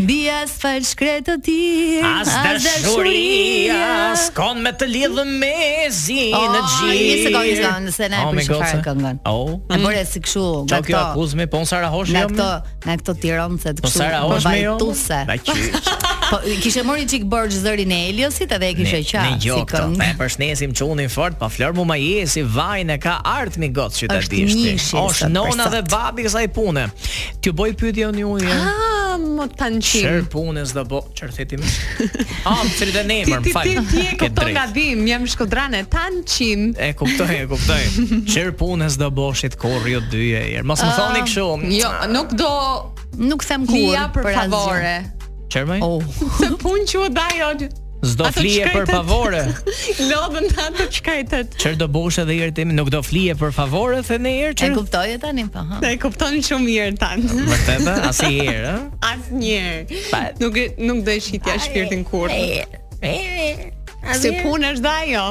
Speaker 8: Mbi asfalt shkretë të ti
Speaker 6: As dashuria Skon me të lidhë me zi
Speaker 8: Oh,
Speaker 6: në gjirë
Speaker 8: një sekondë, një sekondë, se na e prishë fare këngën.
Speaker 6: Oh,
Speaker 8: E bëre si kështu nga
Speaker 6: Qa kjo
Speaker 8: këto
Speaker 6: akuzme, po në Sara Hoshi
Speaker 8: Nga
Speaker 6: jam
Speaker 8: këto, nga këto tironcë të
Speaker 6: Po
Speaker 8: kështu
Speaker 6: Sara Hoshi jo
Speaker 8: vajtuse.
Speaker 6: Na qysh
Speaker 8: Po kishte mori çik borxh zërin e Eliosit edhe e kishte
Speaker 6: Ne
Speaker 8: qartë
Speaker 6: jo
Speaker 8: si
Speaker 6: këto, ne
Speaker 8: këngë.
Speaker 6: përshnesim çunin fort, pa flor mu ma je si vajin e ka art mi got që ta
Speaker 8: Është
Speaker 6: dish ti.
Speaker 8: nishi
Speaker 6: Është
Speaker 8: sot
Speaker 6: nona
Speaker 8: për
Speaker 6: dhe
Speaker 8: sot.
Speaker 6: babi kësaj pune. T'ju boj pyetje unë ju. ja?
Speaker 9: Ah, më tanë
Speaker 6: Çer
Speaker 9: qim.
Speaker 6: punës do bo, çer theti
Speaker 8: *laughs*
Speaker 6: më. Ah, më thëri dhe në
Speaker 9: Ti
Speaker 6: emër,
Speaker 9: ti
Speaker 6: më fal.
Speaker 9: ti ti e
Speaker 6: Ke
Speaker 9: kupton
Speaker 6: drejt.
Speaker 9: gabim, jam shkodrane, tanë qim.
Speaker 6: E kuptoj, e kuptoj. Çer punës do boshit korri o dyje. herë. Mos më
Speaker 8: Ah.
Speaker 6: thoni kështu.
Speaker 9: Jo, nuk do
Speaker 8: Nuk them kur.
Speaker 9: lia për
Speaker 8: asgjë.
Speaker 9: favore.
Speaker 6: Çer më?
Speaker 9: *laughs*
Speaker 8: Oh.
Speaker 9: Se punë që u dajo
Speaker 6: S'do
Speaker 9: ato
Speaker 6: flije për
Speaker 9: çkretet.
Speaker 6: favore.
Speaker 9: *laughs* lodhën atë çkajtet.
Speaker 6: Çer do bosh edhe herë tim, nuk do flije për favore the në herë
Speaker 8: E
Speaker 6: çer.
Speaker 8: kuptoj e tani po, ha.
Speaker 9: E kupton shumë mirë tan.
Speaker 6: Vërtetë,
Speaker 9: *laughs*
Speaker 6: asnjëherë,
Speaker 8: *laughs*
Speaker 6: ëh?
Speaker 9: Asnjëherë.
Speaker 6: Pa-
Speaker 9: Nuk e- nuk do e shitja shpirtin kur. Se punë është dhe ajo.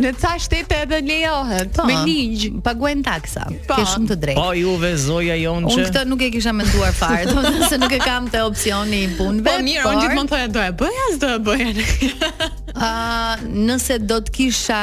Speaker 9: Në ca shtete edhe lejohet po. me ligj.
Speaker 8: Paguajm taksa.
Speaker 9: Po.
Speaker 8: Ke shumë të drejtë.
Speaker 6: Po juve zoja jonë Po, që
Speaker 8: Unë këtë nuk e kisha menduar fare, *laughs* domethënë se nuk e kam te opsioni i punëve.
Speaker 9: Po mirë, unë gjithmonë thoya do e bëja, s'do e bëja.
Speaker 8: *laughs* Ë, nëse do të kisha,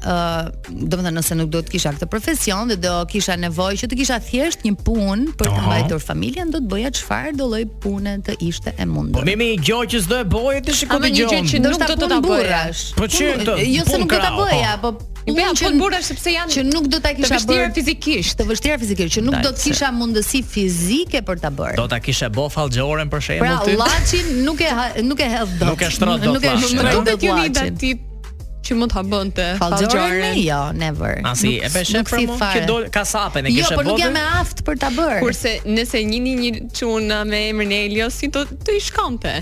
Speaker 8: ë, domethënë nëse nuk do të kisha këtë profesion dhe do kisha nevojë që të kisha thjesht një punë për të
Speaker 6: Aha.
Speaker 8: mbajtur familjen, do të bëja çfarë do lloj pune të ishte e
Speaker 6: Po
Speaker 8: mundur.
Speaker 6: mi mi gjoj që s'do e bëje ti shikoj
Speaker 9: Ama
Speaker 6: të
Speaker 9: një gjë
Speaker 6: gjoj.
Speaker 9: që nuk do të ta bëja.
Speaker 6: Po që të
Speaker 8: Jo se
Speaker 6: punë
Speaker 8: nuk do ta
Speaker 6: krau,
Speaker 8: bëja, po
Speaker 9: Bëja
Speaker 8: punë që-
Speaker 9: punë burrash sepse janë
Speaker 8: që nuk do ta
Speaker 9: Të
Speaker 8: kisha
Speaker 9: vështirë
Speaker 8: bërë
Speaker 9: fizikisht.
Speaker 8: të vështira fizikisht, që nuk do të
Speaker 6: Dalse.
Speaker 8: kisha mundësi fizike për ta bërë.
Speaker 6: Do ta kishe bë fallxoren për
Speaker 8: Pra
Speaker 6: shembull ty.
Speaker 8: llaçin nuk e ha- nuk e hedh dot.
Speaker 6: Nuk e shtrot dot po.
Speaker 8: Nuk e
Speaker 6: llaçin,
Speaker 8: nuk e
Speaker 6: a?
Speaker 8: hedh
Speaker 9: Nuk do
Speaker 8: dot
Speaker 9: t'ju një
Speaker 8: llaçin.
Speaker 9: datit që mund ta bënte
Speaker 8: Fallxore
Speaker 9: fallxoren.
Speaker 8: jo, never.
Speaker 6: Asi,
Speaker 8: Nuk-
Speaker 6: e peshe
Speaker 8: nuk
Speaker 6: për
Speaker 8: si
Speaker 6: mua
Speaker 8: fare.
Speaker 6: që do kasapen e
Speaker 8: Jo,
Speaker 6: kishe
Speaker 8: por nuk
Speaker 6: botë?
Speaker 8: jam e aft për ta bërë.
Speaker 9: Kurse nëse njini një çuna me emrin e Eliosit do të i shkonte.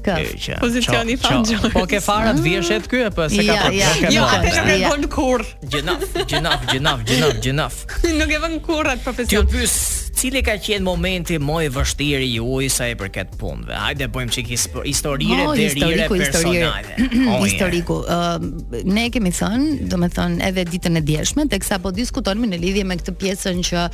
Speaker 8: Kë.
Speaker 6: E, që-
Speaker 9: Pozicioni
Speaker 6: qo-
Speaker 9: fallxores.
Speaker 6: qo- Po ke farat vjeshet ky apo se ka
Speaker 8: Ja,
Speaker 6: për
Speaker 8: ja,
Speaker 6: po ke
Speaker 8: ja.
Speaker 9: Jo,
Speaker 6: marrë.
Speaker 9: atë nuk e
Speaker 8: Ja.
Speaker 9: bën kurr.
Speaker 6: Gjinaf, gjinaf, gjinaf, gjinaf, gjinaf.
Speaker 9: *laughs* Nuk e vën kurr atë
Speaker 6: Ti u
Speaker 9: profesion.
Speaker 6: pyes cili ka qenë momenti më i vështirë i juaj sa i përket punëve. Hajde bëjmë çik hisp- historire
Speaker 8: Oh,
Speaker 6: derire
Speaker 8: historiku, *clears throat*
Speaker 6: personale. Oh, je.
Speaker 8: historiku. Ë ne e kemi thënë, domethënë edhe ditën e djeshme, teksa po diskutonemi në lidhje me këtë pjesën që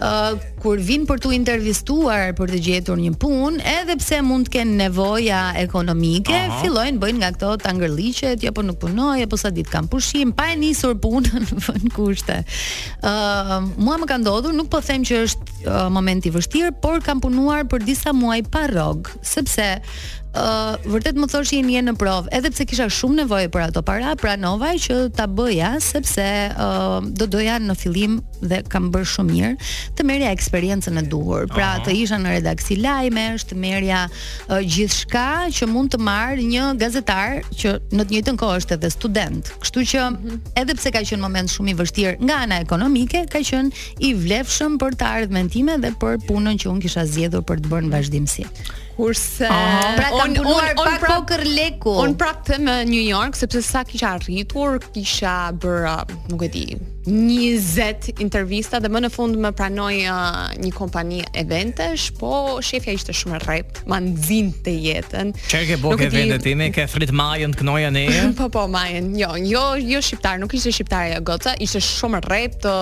Speaker 8: ë kur vin për tu intervistuar për të gjetur një punë, edhe pse mund të kenë nevoja ekonomike, fillojnë bëjnë nga këto tangërliqet, jo po nuk punoj, apo sa ditë kam pushim, pa e nisur punën *laughs* në vend kushte. Ë mua më ka ndodhur, nuk po them që është ë, moment i vështirë, por kam punuar për disa muaj pa rrog, sepse Uh, vërtet më thoshin je në provë, edhe pse kisha shumë nevojë për ato para, pranova që ta bëja sepse uh, do doja në fillim dhe kam bërë shumë mirë të merrja eksperiencën e duhur. Pra të isha në redaksi lajmesh, të merrja uh, gjithçka që mund të marr një gazetar që në të njëjtën kohë është edhe student. Kështu që edhe pse ka qenë moment shumë i vështirë nga ana ekonomike, ka qenë i vlefshëm për të ardhmen time dhe për punën që unë kisha zgjedhur për të bërë në vazhdimsi.
Speaker 9: Kurse
Speaker 8: Pra kam
Speaker 9: Eh, un-
Speaker 8: punuar
Speaker 9: un- un
Speaker 8: pa
Speaker 9: prap-
Speaker 8: kokër leku.
Speaker 9: Un pra- prap them në New York sepse sa kisha arritur, kisha bërë, uh, nuk e di, 20 intervista dhe më në fund më pranoi uh, një kompani eventesh, po shefja ishte shumë e rrept, ma nxinte jetën.
Speaker 6: Çfarë ke
Speaker 9: Nuk
Speaker 6: bokë
Speaker 9: e di-
Speaker 6: vendet time, ke frit majën të knoja ne.
Speaker 9: *laughs* Po po, Majen, jo, jo, jo shqiptar, nuk ishte shqiptare ajo goca, ishte shumë rrep të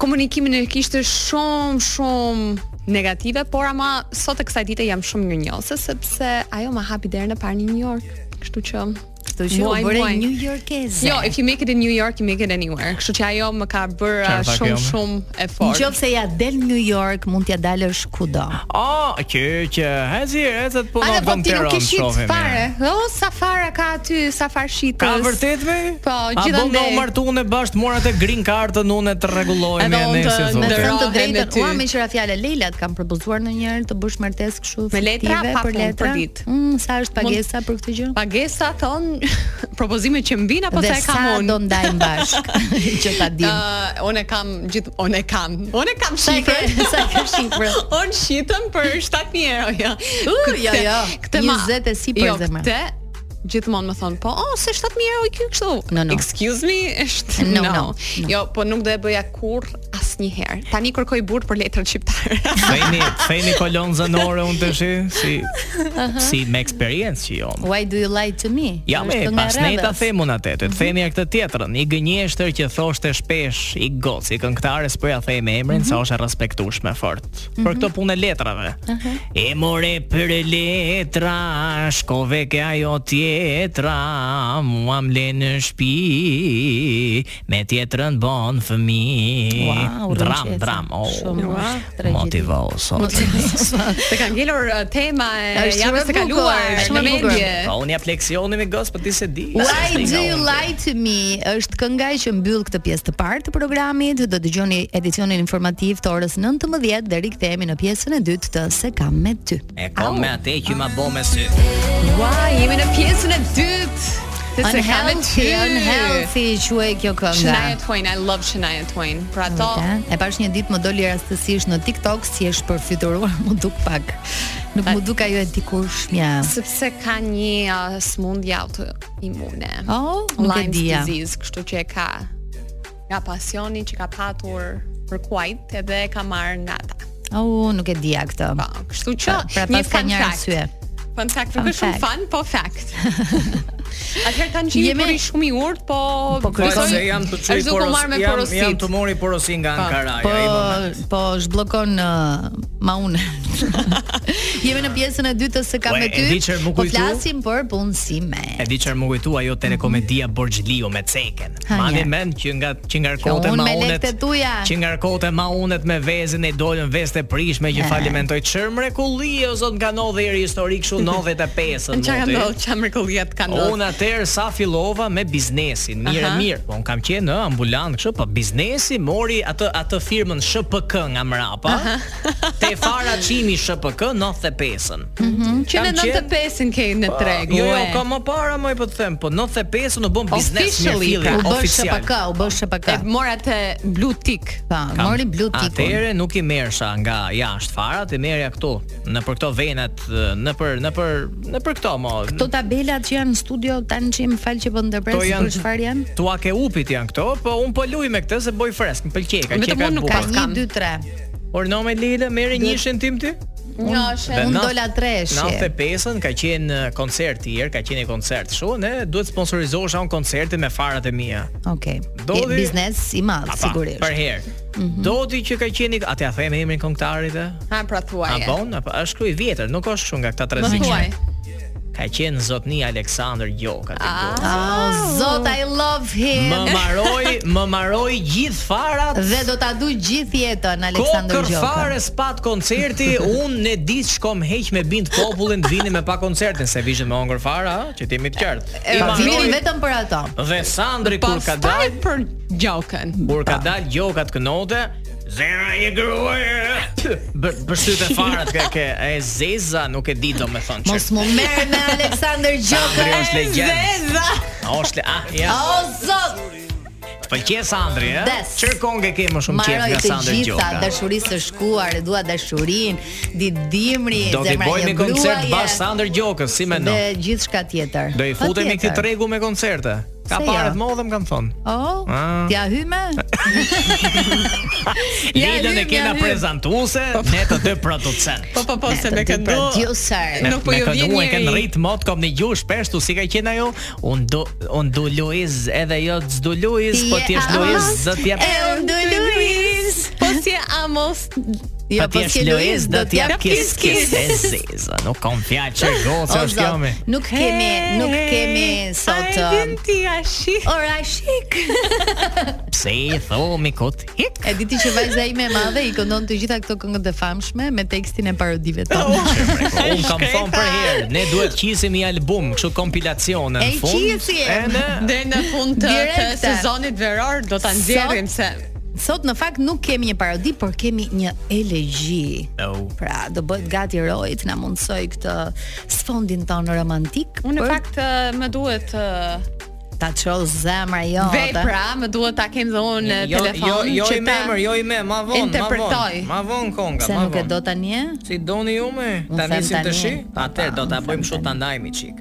Speaker 9: komunikimin e kishte shumë shumë negative, por ama sot e kësaj dite jam shumë mirënjohëse sepse ajo ma hapi derën e parë në New York, kështu që
Speaker 8: Kështu që u
Speaker 9: Muaj,
Speaker 8: bëre
Speaker 9: muaj.
Speaker 8: New Yorkeze.
Speaker 9: Jo, if you make it in New York, you make it anywhere. Kështu që ajo më ka bërë uh,
Speaker 6: Qarë tha kjo,
Speaker 9: shumë
Speaker 6: me?
Speaker 9: shumë
Speaker 8: Në
Speaker 9: effort.
Speaker 8: qoftë se ja del në New York, mund t'ja dalësh kudo.
Speaker 6: Ah, që që hazi recet po
Speaker 9: Ale
Speaker 6: na
Speaker 9: po
Speaker 6: bën
Speaker 9: ti nuk
Speaker 6: Tiranë
Speaker 9: ke shit
Speaker 6: shohim.
Speaker 9: fare. O, sa fara ka aty, sa far shitës.
Speaker 6: Ka vërtet me?
Speaker 9: Po,
Speaker 6: A bo nga
Speaker 9: gjithandej.
Speaker 6: u martu unë e bashkë mora të green cardën unë e të rregullohem me
Speaker 9: Edhe unë
Speaker 6: anesi
Speaker 9: të-
Speaker 8: Me të
Speaker 9: Ndërrohem
Speaker 8: thënë të
Speaker 9: me
Speaker 8: drejtën,
Speaker 9: ty.
Speaker 8: ua me qira fjalë Leila të kam propozuar ndonjëherë të bësh martesë kështu
Speaker 9: Me letra,
Speaker 8: fiktive,
Speaker 9: pa
Speaker 8: për
Speaker 9: punë,
Speaker 8: letra.
Speaker 9: për ditë.
Speaker 8: Mm, sa është pagesa për këtë gjë?
Speaker 9: Pagesa thon *laughs* propozime që mbin apo
Speaker 8: Dhe
Speaker 9: po, sa e kam
Speaker 8: sa
Speaker 9: unë.
Speaker 8: do ndajmë bashk *laughs* që ta dim.
Speaker 9: *laughs* Ë, unë e kam gjithë unë e kam. Unë e kam
Speaker 8: Sa e ke,
Speaker 9: shifrën.
Speaker 8: sa e ke shifrën?
Speaker 9: *laughs* unë shitëm për 7000 euro, jo.
Speaker 8: U, jo, jo. 20 e si për
Speaker 9: jo,
Speaker 8: zemër.
Speaker 9: Këtë gjithmonë më thon, po, oh, se 7000 euro i ky kështu.
Speaker 8: No, no.
Speaker 9: Excuse me, është
Speaker 8: No,
Speaker 9: no,
Speaker 8: no, no.
Speaker 9: Jo, po nuk do e bëja kurr asnjëherë. Tani kërkoj burr për letrat shqiptare.
Speaker 8: *laughs*
Speaker 6: Fejni, fejni kolon zanore unë të shi Si, si me eksperiencë që jo, jom
Speaker 8: Why do you lie to me?
Speaker 6: Ja me,
Speaker 8: Është nga
Speaker 6: pas ne ta
Speaker 8: radhës. *laughs* Mhm.
Speaker 6: them unë atë, të themi ja këtë tjetrën, i gënjeshtër që thoshte shpesh, i goci, këngëtare s'po ja them
Speaker 8: Mhm.
Speaker 6: emrin, sa është e respektueshme fort. Për këto punë e letrave. E more për letra, shkove ke ajo tjetra, mua mle në shtëpi, me tjetrën bon fëmi.
Speaker 8: Wow,
Speaker 6: dram,
Speaker 8: rënqeca.
Speaker 6: dram, oh,
Speaker 8: Shumë, wow, tragjedi.
Speaker 6: motivo, sot.
Speaker 9: Të kanë ngelur uh, tema e
Speaker 8: Është shumë e
Speaker 9: javës së
Speaker 8: bukur,
Speaker 9: kaluar,
Speaker 8: është shumë e
Speaker 9: në
Speaker 8: bukur.
Speaker 9: medje.
Speaker 6: Po, unë ja fleksioni me gos, po ti se di.
Speaker 8: Why
Speaker 6: Se s'ti
Speaker 8: do
Speaker 6: nga
Speaker 8: you
Speaker 6: unë.
Speaker 8: lie to me? Është kënga që mbyll këtë pjesë të parë të programit. Do dëgjoni edicionin informativ të orës 19 dhe rikthehemi në pjesën e dytë të Se kam me ty.
Speaker 6: E kom me atë që ma bo me sy.
Speaker 9: Ua, jemi në pjesën e dytë. Të se kam e
Speaker 8: Unhealthy,
Speaker 9: ty.
Speaker 8: unhealthy quaj kjo kënga.
Speaker 9: Shania Twain, I love Shania Twain. Pra ato
Speaker 8: Ata, E pash një ditë më doli rastësisht në TikTok si është *laughs* përfituruar, më duk pak. Nuk më duk ajo e dikurshmja.
Speaker 9: sepse ka një uh, smundje autoimune.
Speaker 8: Oh, nuk e
Speaker 9: Lyme's
Speaker 8: dija.
Speaker 9: disease, kështu që e ka nga pasioni që ka patur për kuajt edhe e ka marrë nga ata.
Speaker 8: Au, nuk e dija këtë.
Speaker 9: Po, kështu që
Speaker 8: pra
Speaker 9: një
Speaker 8: pas ka
Speaker 9: fun
Speaker 8: një
Speaker 9: fact.
Speaker 8: arsye.
Speaker 9: Fun fact,
Speaker 8: Fun
Speaker 9: nuk është shumë
Speaker 8: fact.
Speaker 9: fun, po
Speaker 8: *laughs*
Speaker 9: fact. Atëherë kanë qenë
Speaker 8: Jemi-
Speaker 9: Jemi... shumë i urtë, po
Speaker 6: Po
Speaker 8: Po, Besoj-
Speaker 6: se jam të çoj
Speaker 9: është duke u marrë me
Speaker 6: jam,
Speaker 9: porosit.
Speaker 6: jam të mori porosi nga Ankara.
Speaker 8: Po,
Speaker 6: ja, i moment.
Speaker 8: po zhbllokon uh, maun.
Speaker 6: *laughs*
Speaker 8: Jemi në pjesën e dytë të se kam
Speaker 6: Po, e-
Speaker 8: me ty.
Speaker 6: e di çfarë më
Speaker 8: Po
Speaker 6: kujtu?
Speaker 8: flasim për punësime.
Speaker 6: E di çfarë më kujtu ajo telekomedia Borxhliu me Ceken.
Speaker 8: Ha,
Speaker 6: Mani
Speaker 8: ja.
Speaker 6: mend që nga që ngarkote
Speaker 8: Që unë
Speaker 6: ma
Speaker 8: me
Speaker 6: unet.
Speaker 8: lekët e tuja.
Speaker 6: Që ngarkote ma unet me vezin e dolën veste prishme që
Speaker 8: E.
Speaker 6: falimentoj çër mrekulli o zot nga 90 historik kështu 95-ën.
Speaker 9: Në çfarë ka
Speaker 6: moti.
Speaker 9: ndodhur, çfarë mrekullia të ka ndodhur.
Speaker 6: Unë atëherë sa fillova me biznesin, mirë e
Speaker 9: Aha.
Speaker 6: mirë, po unë kam qenë në ambulant kështu, po biznesi mori atë atë firmën SHPK nga mrapa. *laughs* te fara çimi SHPK 95-ën.
Speaker 9: Që në
Speaker 6: Kam qenë-
Speaker 9: 95-ën ke në treg.
Speaker 6: Jo, jo,
Speaker 9: ue.
Speaker 6: ka më para më po të them, po 95-ën u bën biznes me
Speaker 9: Officially,
Speaker 6: fillin
Speaker 8: U bësh
Speaker 6: oficial.
Speaker 8: SPK, u bësh SPK.
Speaker 9: E mora të blue tick.
Speaker 8: Po, mori blue tikun.
Speaker 6: Atëre nuk i merrsha nga jashtë fara, ti merja këtu, në për këto venat, në për në për në për këto mo.
Speaker 8: Këto tabelat që janë në studio tani që më fal që po ndërpres për çfarë janë?
Speaker 6: Tua ke upit janë këto, po un po luj me këtë se boj fresk, më pëlqej, ka
Speaker 9: Vetëm
Speaker 6: qenë
Speaker 9: unë nuk
Speaker 8: Ka
Speaker 9: Po,
Speaker 8: një,
Speaker 9: kam.
Speaker 8: dy, tre.
Speaker 6: Orno me Lila, merre njëshin tim ti?
Speaker 9: Jo,
Speaker 6: Dhe
Speaker 8: Unë
Speaker 6: naft-
Speaker 8: dola treshi.
Speaker 6: 95-ën ka qenë eh, koncert i erë, ka qenë një koncert. Shu, ne duhet sponsorizohesha unë koncerte me farat e mia.
Speaker 8: Okej.
Speaker 6: Dodi-
Speaker 8: Je Biznes i madh
Speaker 6: Pa, pa,
Speaker 8: sigurisht.
Speaker 6: Për herë. Doti që ka qenë, i- atë ja them emrin këngëtarit e?
Speaker 9: Ha pra
Speaker 6: A
Speaker 9: thuaje.
Speaker 6: bon, apo është ky i vjetër, nuk është shumë nga këta
Speaker 9: Më
Speaker 6: 30.
Speaker 9: thuaj.
Speaker 6: Ka qenë zotni Aleksandr Gjoka ti. gocë.
Speaker 8: Oh, zot I love him.
Speaker 6: Më maroi, më maroi gjithë farat.
Speaker 8: Dhe do ta du gjithë jetën Aleksandër
Speaker 6: Kokër
Speaker 8: Gjoka.
Speaker 6: fare spat
Speaker 8: *laughs*
Speaker 6: koncerti, unë në ditë shkom heq me bind popullin të vini me pa koncertin, se vishën me ongër fare, ha, që ti jemi të qartë. I
Speaker 8: Pa,
Speaker 6: maroi-
Speaker 8: Vini vetëm për ato.
Speaker 6: Dhe Sandri kur ka
Speaker 9: Pastaj
Speaker 6: dal,
Speaker 9: po, për gjokën.
Speaker 6: kur ka dal gjokat kënote, Zera e gruaje. Bër bërsytë e farat ka ke e zeza nuk e di domethënë
Speaker 8: Mos
Speaker 6: çfarë.
Speaker 8: më merr me
Speaker 6: *laughs*
Speaker 8: Aleksandër Gjoka.
Speaker 6: Sandri është legjend.
Speaker 9: Zeza.
Speaker 6: Është ah ja.
Speaker 8: Oh, zot.
Speaker 6: Të pëlqen Sandri, ë?
Speaker 8: Des.
Speaker 6: Çer kongë ke më shumë qejf
Speaker 8: Maroj
Speaker 6: nga
Speaker 8: të
Speaker 6: Sandri
Speaker 8: gjitha
Speaker 6: Gjoka.
Speaker 8: dashurisë të shkuar, e dua dashurinë, ditë dimri,
Speaker 6: Do të
Speaker 8: zemra
Speaker 6: bëjmë
Speaker 8: një
Speaker 6: një koncert
Speaker 8: gruaje,
Speaker 6: bash Sandër Gjokës, si mendon?
Speaker 8: Dhe gjithçka tjetër.
Speaker 6: Do i futemi
Speaker 8: Patjetër.
Speaker 6: këtij tregu me koncerte. Ka
Speaker 8: Se
Speaker 6: parë
Speaker 8: jo.
Speaker 6: të modhe më kanë thonë.
Speaker 8: Oh,
Speaker 6: Ah.
Speaker 8: t'ja
Speaker 6: *laughs*
Speaker 8: hyme? Ja,
Speaker 6: Lidën e
Speaker 8: hym,
Speaker 6: kena
Speaker 8: ja, hym.
Speaker 6: prezantuese, ne të dy producent.
Speaker 9: Po po po se
Speaker 8: Të
Speaker 9: me
Speaker 8: dy
Speaker 9: këndo.
Speaker 8: producer.
Speaker 6: Me,
Speaker 9: Nuk po
Speaker 6: me
Speaker 9: ju
Speaker 6: këndu,
Speaker 9: vjen
Speaker 6: e kanë
Speaker 9: njeri.
Speaker 6: rrit mot kom në gjush peshtu si ka qenë ajo un do un do Luiz edhe jo s'do Luiz po ti je Luiz zot jap
Speaker 8: E unë do Luis.
Speaker 9: Po si Amos
Speaker 8: Jo, po
Speaker 6: t'jesh
Speaker 8: si Luiz do
Speaker 6: t'jap
Speaker 8: t'jap kis kis.
Speaker 6: E seza, nuk kam fjalë që gocë
Speaker 8: O,
Speaker 6: është
Speaker 8: Oh, Zot,
Speaker 6: kjo me.
Speaker 8: Nuk kemi, nuk kemi sot
Speaker 9: Ai
Speaker 8: um,
Speaker 9: vjen ti ashi.
Speaker 8: Ora shik.
Speaker 6: *laughs* Pse i thomi kot hik? *laughs*
Speaker 8: E diti që vajza ime e madhe i këndon të gjitha këto këngët e famshme me tekstin
Speaker 6: *laughs*
Speaker 8: e parodive tona.
Speaker 6: Un kam thonë për herë, ne duhet qisim i album, kështu kompilacione
Speaker 8: E
Speaker 6: në fund.
Speaker 8: qisim!
Speaker 6: E ne-
Speaker 9: Dhe në fund të, të
Speaker 8: Direkte.
Speaker 9: sezonit veror do ta nxjerrim se
Speaker 8: Sot në fakt nuk kemi një parodi, por kemi një elegji.
Speaker 6: Oh.
Speaker 8: Pra, do bëhet gati rojt, na mundsoj këtë sfondin ton romantik.
Speaker 9: unë në
Speaker 8: për
Speaker 9: fakt ë, më duhet ë,
Speaker 8: ta çoj zemra jote.
Speaker 9: vepra, më duhet ta kem dhe unë në
Speaker 6: Jo,
Speaker 9: telefon
Speaker 6: jo, jo
Speaker 9: që
Speaker 6: i
Speaker 9: ta
Speaker 6: memër, jo i me, ma vonë, ma
Speaker 9: interpretoj.
Speaker 6: vonë. Ma vonë konga,
Speaker 8: Se
Speaker 6: ma
Speaker 8: nuk e do
Speaker 6: vonë.
Speaker 8: tani eh? e?
Speaker 6: Si doni ju me,
Speaker 8: Unë
Speaker 6: ta
Speaker 8: them
Speaker 6: nisim të
Speaker 8: tani.
Speaker 6: shi, atëherë do ta
Speaker 8: Unë
Speaker 6: bëjmë
Speaker 8: them
Speaker 6: kështu ta ndajmë çik.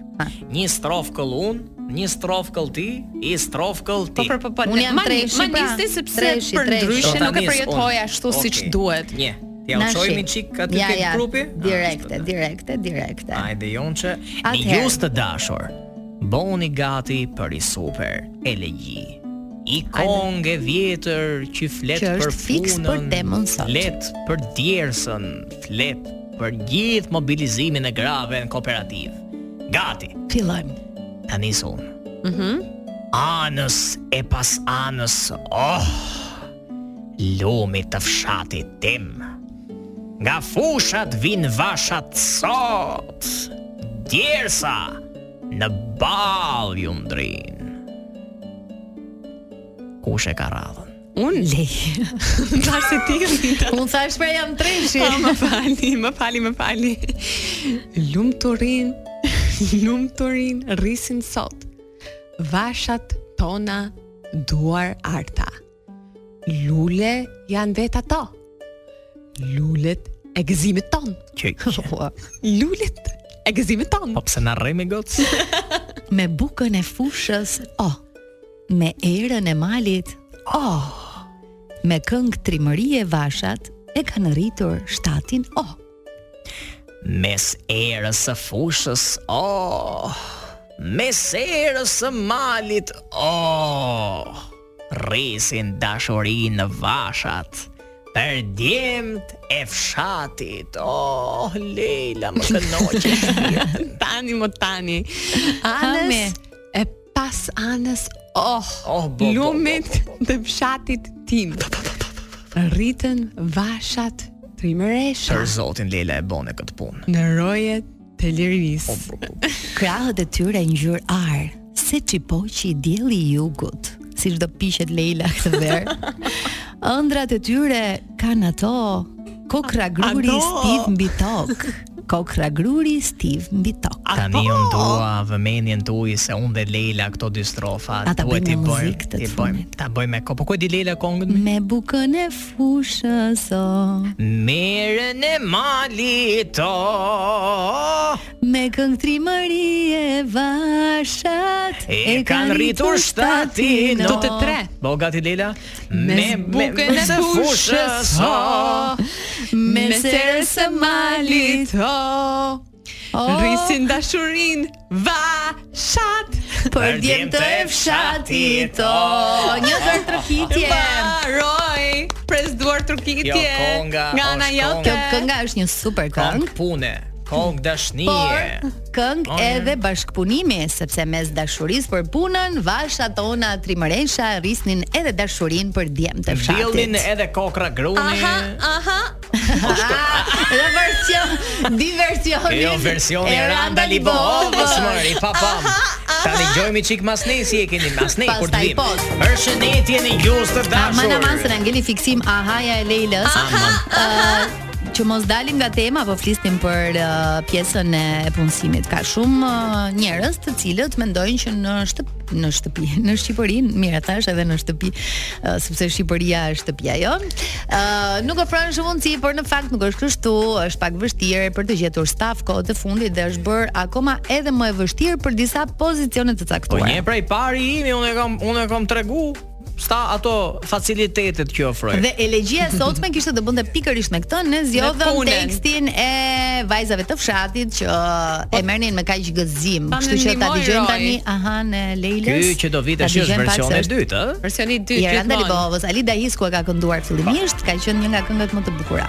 Speaker 6: Një strofë këll unë, një strofë këll ti, i strofë këll ti.
Speaker 9: Po po po po.
Speaker 8: Unë jam
Speaker 9: ma-
Speaker 8: treshi,
Speaker 9: ma
Speaker 8: pra.
Speaker 9: niste sepse
Speaker 8: Treshi,
Speaker 9: për
Speaker 8: treshi.
Speaker 6: Do
Speaker 9: ndryshe
Speaker 6: ta
Speaker 9: nuk e
Speaker 6: nis
Speaker 9: përjetoj
Speaker 6: Jo, unë.
Speaker 9: ashtu siç
Speaker 6: Okej.
Speaker 9: duhet.
Speaker 6: Një. Ja
Speaker 8: Na
Speaker 6: uçojmë
Speaker 8: shih.
Speaker 6: çik aty
Speaker 8: Ja,
Speaker 6: tek
Speaker 8: ja,
Speaker 6: grupi.
Speaker 8: Direkte, direkte, direkte.
Speaker 6: Ajde Jonçe, një
Speaker 8: Atëherë.
Speaker 6: jus të dashur. Boni gati për i super elegji. I kong e vjetër që flet
Speaker 8: Që
Speaker 6: për
Speaker 8: është fiks për
Speaker 6: punën,
Speaker 8: temën sot.
Speaker 6: Flet për djersën, flet për gjithë mobilizimin e grave në kooperativ. Gati,
Speaker 8: Fillojmë.
Speaker 6: ta nis unë. Mhm. anës e pas anës, oh, lumi të fshatit tim. Nga fushat vinë vashat sot, djersa në bal ju ndrinë. Kush e ka radhën?
Speaker 9: Unë lej. Tash ti ndita.
Speaker 8: Unë thash pra jam treshi.
Speaker 9: Po më fali, më fali, më fali. Lum të rinë, lum të rinë, rrisin sot. Vashat tona duar arta. Lule janë vetë ato. Lulet e gëzimit ton.
Speaker 6: Që
Speaker 9: Lulet e gëzimit ton.
Speaker 6: Po pse na rremi gocë?
Speaker 8: *laughs* me bukën e fushës, o. Me erën e malit, o. Me këngë trimëri e vashat, e kanë rritur shtatin, o.
Speaker 6: Mes erës së fushës, oh, mes erës së malit, oh, rrisin dashuri në vashat, për djemët e fshatit, oh, Leila më kënoqe
Speaker 8: *laughs*
Speaker 6: shpirtin.
Speaker 9: Tani më tani.
Speaker 8: Ame.
Speaker 9: Anës e pas anës, oh,
Speaker 6: Oh, bo, bo,
Speaker 9: lumit dhe fshatit tim. Rritën vashat trimëresha
Speaker 6: Për zotin Leila e bone këtë punë.
Speaker 9: në roje të liris.
Speaker 8: Krahët e tyre ngjyrë ar, se çipoqi i dielli i jugut, si çdo pishet Leila këtë verë. Ëndrat e tyre kanë ato kokra gruri
Speaker 9: Ato.
Speaker 8: stiv mbi tokë. Kokra gruri stiv mbi tokë.
Speaker 6: Tani unë dua vëmendjen tuaj se unë dhe Leila këto dy strofa
Speaker 8: A ta
Speaker 6: duhet
Speaker 8: bëjmë
Speaker 6: t'i
Speaker 8: me
Speaker 6: bëjmë,
Speaker 8: muzikë të
Speaker 6: t'i bëjmë,
Speaker 8: fundit?
Speaker 6: ta bëjmë me ko. Po ku e di Leila këngën?
Speaker 8: Me bukën e fushës, o.
Speaker 6: Merën e malit o
Speaker 8: Me këngë trimëri e vashat
Speaker 6: E kanë rritur shtatin
Speaker 8: Do
Speaker 6: o.
Speaker 8: të tre
Speaker 6: Bo gati Leila
Speaker 9: Me bukën e fushës, o,
Speaker 8: Me serës
Speaker 9: me serës e
Speaker 8: së malit
Speaker 9: malit, o,
Speaker 8: o,
Speaker 9: rrisin dashurin, vashat,
Speaker 8: Për djemë të e fshatit o, Një
Speaker 6: *laughs*
Speaker 8: dërë trokitje
Speaker 9: baroj, pres duar trukitje,
Speaker 6: Jo, konga,
Speaker 9: nga ana
Speaker 6: është
Speaker 9: jote.
Speaker 8: Kjo kënga është një super
Speaker 6: Kong Oh,
Speaker 8: këngë
Speaker 6: pune Kong dashnije
Speaker 8: Por këngë edhe bashkëpunimi, sepse mes dashurisë për punën, vashat tona trimëresha rrisnin edhe dashurinë për djemë të fshatit.
Speaker 6: Villnin edhe kokra gruni
Speaker 9: Aha, aha,
Speaker 8: Dhe
Speaker 6: *laughs*
Speaker 8: version, di versioni.
Speaker 6: Jo versioni Randa Libovës mëri pa pam Tani gjojmë i qik masnej si e keni masnej kur
Speaker 8: Pastaj
Speaker 6: të vim
Speaker 8: post.
Speaker 6: Për shënetje në gjusë të dashur
Speaker 8: Aman aman se na ngeli fiksim ahaja e Leilës.
Speaker 6: Aman.
Speaker 8: Ë, që mos dalim nga tema, po flisnim për ë, pjesën e punësimit. Ka shumë ë, njerëz të cilët mendojnë që në shtëpi, në shtëpi, *laughs* në Shqipëri, mirë tash edhe në shtëpi, ë, sepse Shqipëria është shtëpia jon. Ë, nuk ofron shumë mundësi, por në fakt nuk është kështu, është pak vështirë për të gjetur staf kohët e fundit dhe është bërë akoma edhe më e vështirë për disa pozicione të
Speaker 6: Po
Speaker 8: caktuara.
Speaker 6: një prej pari imi unë e kam unë e kam tregu sta ato facilitetet që ofroj.
Speaker 8: Dhe e legjia e sotme kishte të bënte pikërisht me këtë, ne zgjodhëm
Speaker 9: punën.
Speaker 8: tekstin e vajzave të fshatit që e merrnin me kaq gëzim.
Speaker 9: Ta
Speaker 8: Kështu që ta
Speaker 9: ndihmoj,
Speaker 8: dëgjojmë
Speaker 9: Roy.
Speaker 8: tani aha në Leilës.
Speaker 6: Ky që do vitesh
Speaker 8: Ta
Speaker 6: është
Speaker 8: dëgjojmë pak se
Speaker 6: versioni i
Speaker 8: është
Speaker 6: dytë, ë?
Speaker 9: Versioni i dytë
Speaker 8: Jeranda
Speaker 9: gjithmonë.
Speaker 8: Libovës, Ali Dahisku e ka kënduar fillimisht, ka qenë një nga këngët më të bukura.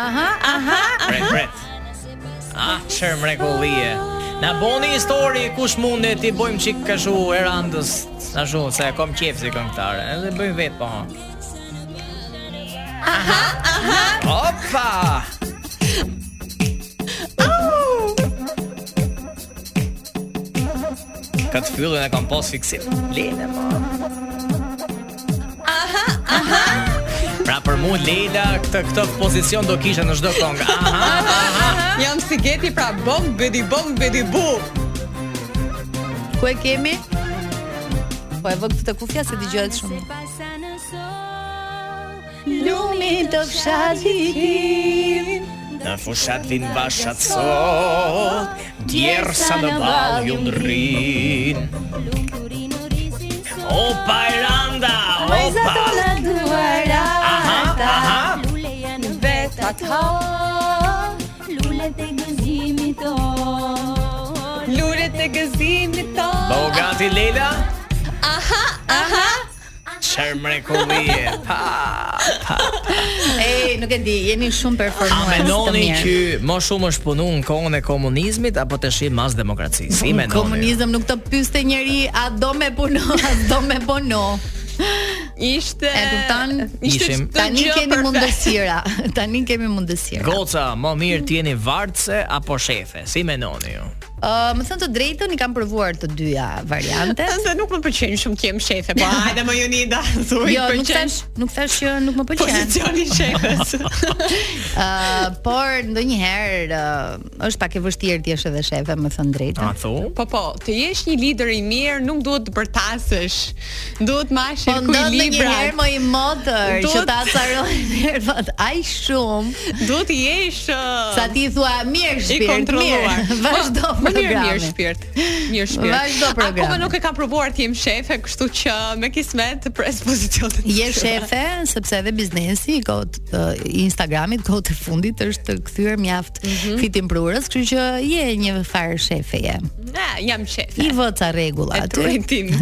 Speaker 8: Aha, aha,
Speaker 6: Pret, pret. Ah, çfarë mrekullie. Na boni histori kush mundet i bëjmë çik kashu Erandës, ashtu se e kam qejf si këngëtare. Edhe bëjmë vet po. Aha, aha. Opa! Këtë fyllën e kam pas fiksim Lene po Aha, aha Pra për mu Leda këtë, këtë pozicion do kisha në çdo këngë. Aha, aha
Speaker 9: Jam si geti pra bom, bedi bom, bedi bu.
Speaker 8: ku e kemi? Po e vë këtë të kufja se dëgjohet shumë. Lumi të fshatit
Speaker 6: Në fushat vin bashat sot Djerë sa në balë ju ndrin Opa Irlanda, opa
Speaker 8: duara
Speaker 6: Aha, aha
Speaker 9: Vetat ha, lulet e gëzimit to.
Speaker 6: Bëhu gati Leila Aha, aha Qërë mrekullie Pa
Speaker 8: Ej, nuk e di, jeni shumë
Speaker 6: A
Speaker 8: performues të
Speaker 6: menoni që
Speaker 8: mirë.
Speaker 6: më shumë është punu në kohën e komunizmit apo të shi mas demokracisë? Si menoni?
Speaker 8: Komunizëm nuk të pyeste njëri a do me punu, *laughs* a do me punu.
Speaker 9: Ishte
Speaker 8: E kupton?
Speaker 9: Ishte
Speaker 6: Ishim.
Speaker 9: çdo
Speaker 8: Tani
Speaker 9: gjë
Speaker 8: kemi
Speaker 9: perfekt.
Speaker 8: mundësira. *laughs* Tani kemi mundësira.
Speaker 6: Goca, më mirë t'jeni vartëse apo shefe? Si menoni ju?
Speaker 8: Ë, më thënë të drejtën, i kam provuar të dyja variantet.
Speaker 9: *laughs* Se nuk më pëlqen shumë që jem shefe, *laughs* po hajde më Jonida, thuaj
Speaker 8: Jo, nuk
Speaker 9: pëlqen
Speaker 8: thash, nuk thash që nuk më pëlqen.
Speaker 9: pozicioni i *laughs* shefes.
Speaker 8: Ë, por ndonjëherë ë, është pak e vështirë ti jesh edhe shefe, më thënë
Speaker 6: A
Speaker 8: drejtën.
Speaker 6: thu?
Speaker 9: Po po, të jesh një lider i mirë nuk duhet të bërtasesh. Duhet
Speaker 8: Po
Speaker 9: mashe ku i
Speaker 8: ndodh
Speaker 9: libra.
Speaker 8: ndonjëherë më i motër që
Speaker 9: Duhet-
Speaker 8: ta *laughs* acarojnë nervat aq shumë
Speaker 9: Duhet të jesh ë,
Speaker 8: sa ti thua mirë
Speaker 9: i
Speaker 8: shpirt, mirë.
Speaker 9: kontrolluar.
Speaker 8: *laughs* Vazhdo
Speaker 9: Po, më Mirë, mirë
Speaker 8: programin.
Speaker 9: shpirt. Mirë shpirt.
Speaker 8: Vazhdo programin.
Speaker 9: Akoma nuk e kam provuar të jem shefe, kështu që me kismet të pres pozicionin.
Speaker 8: Je shefe sepse edhe biznesi i kot i Instagramit kohët e fundit është të kthyer mjaft fitim prurës, kështu që je një farë shefe je.
Speaker 9: Ne, jam shefe.
Speaker 8: I vë ca rregulla
Speaker 9: E
Speaker 8: aty.
Speaker 9: turin
Speaker 8: *laughs*
Speaker 9: tim.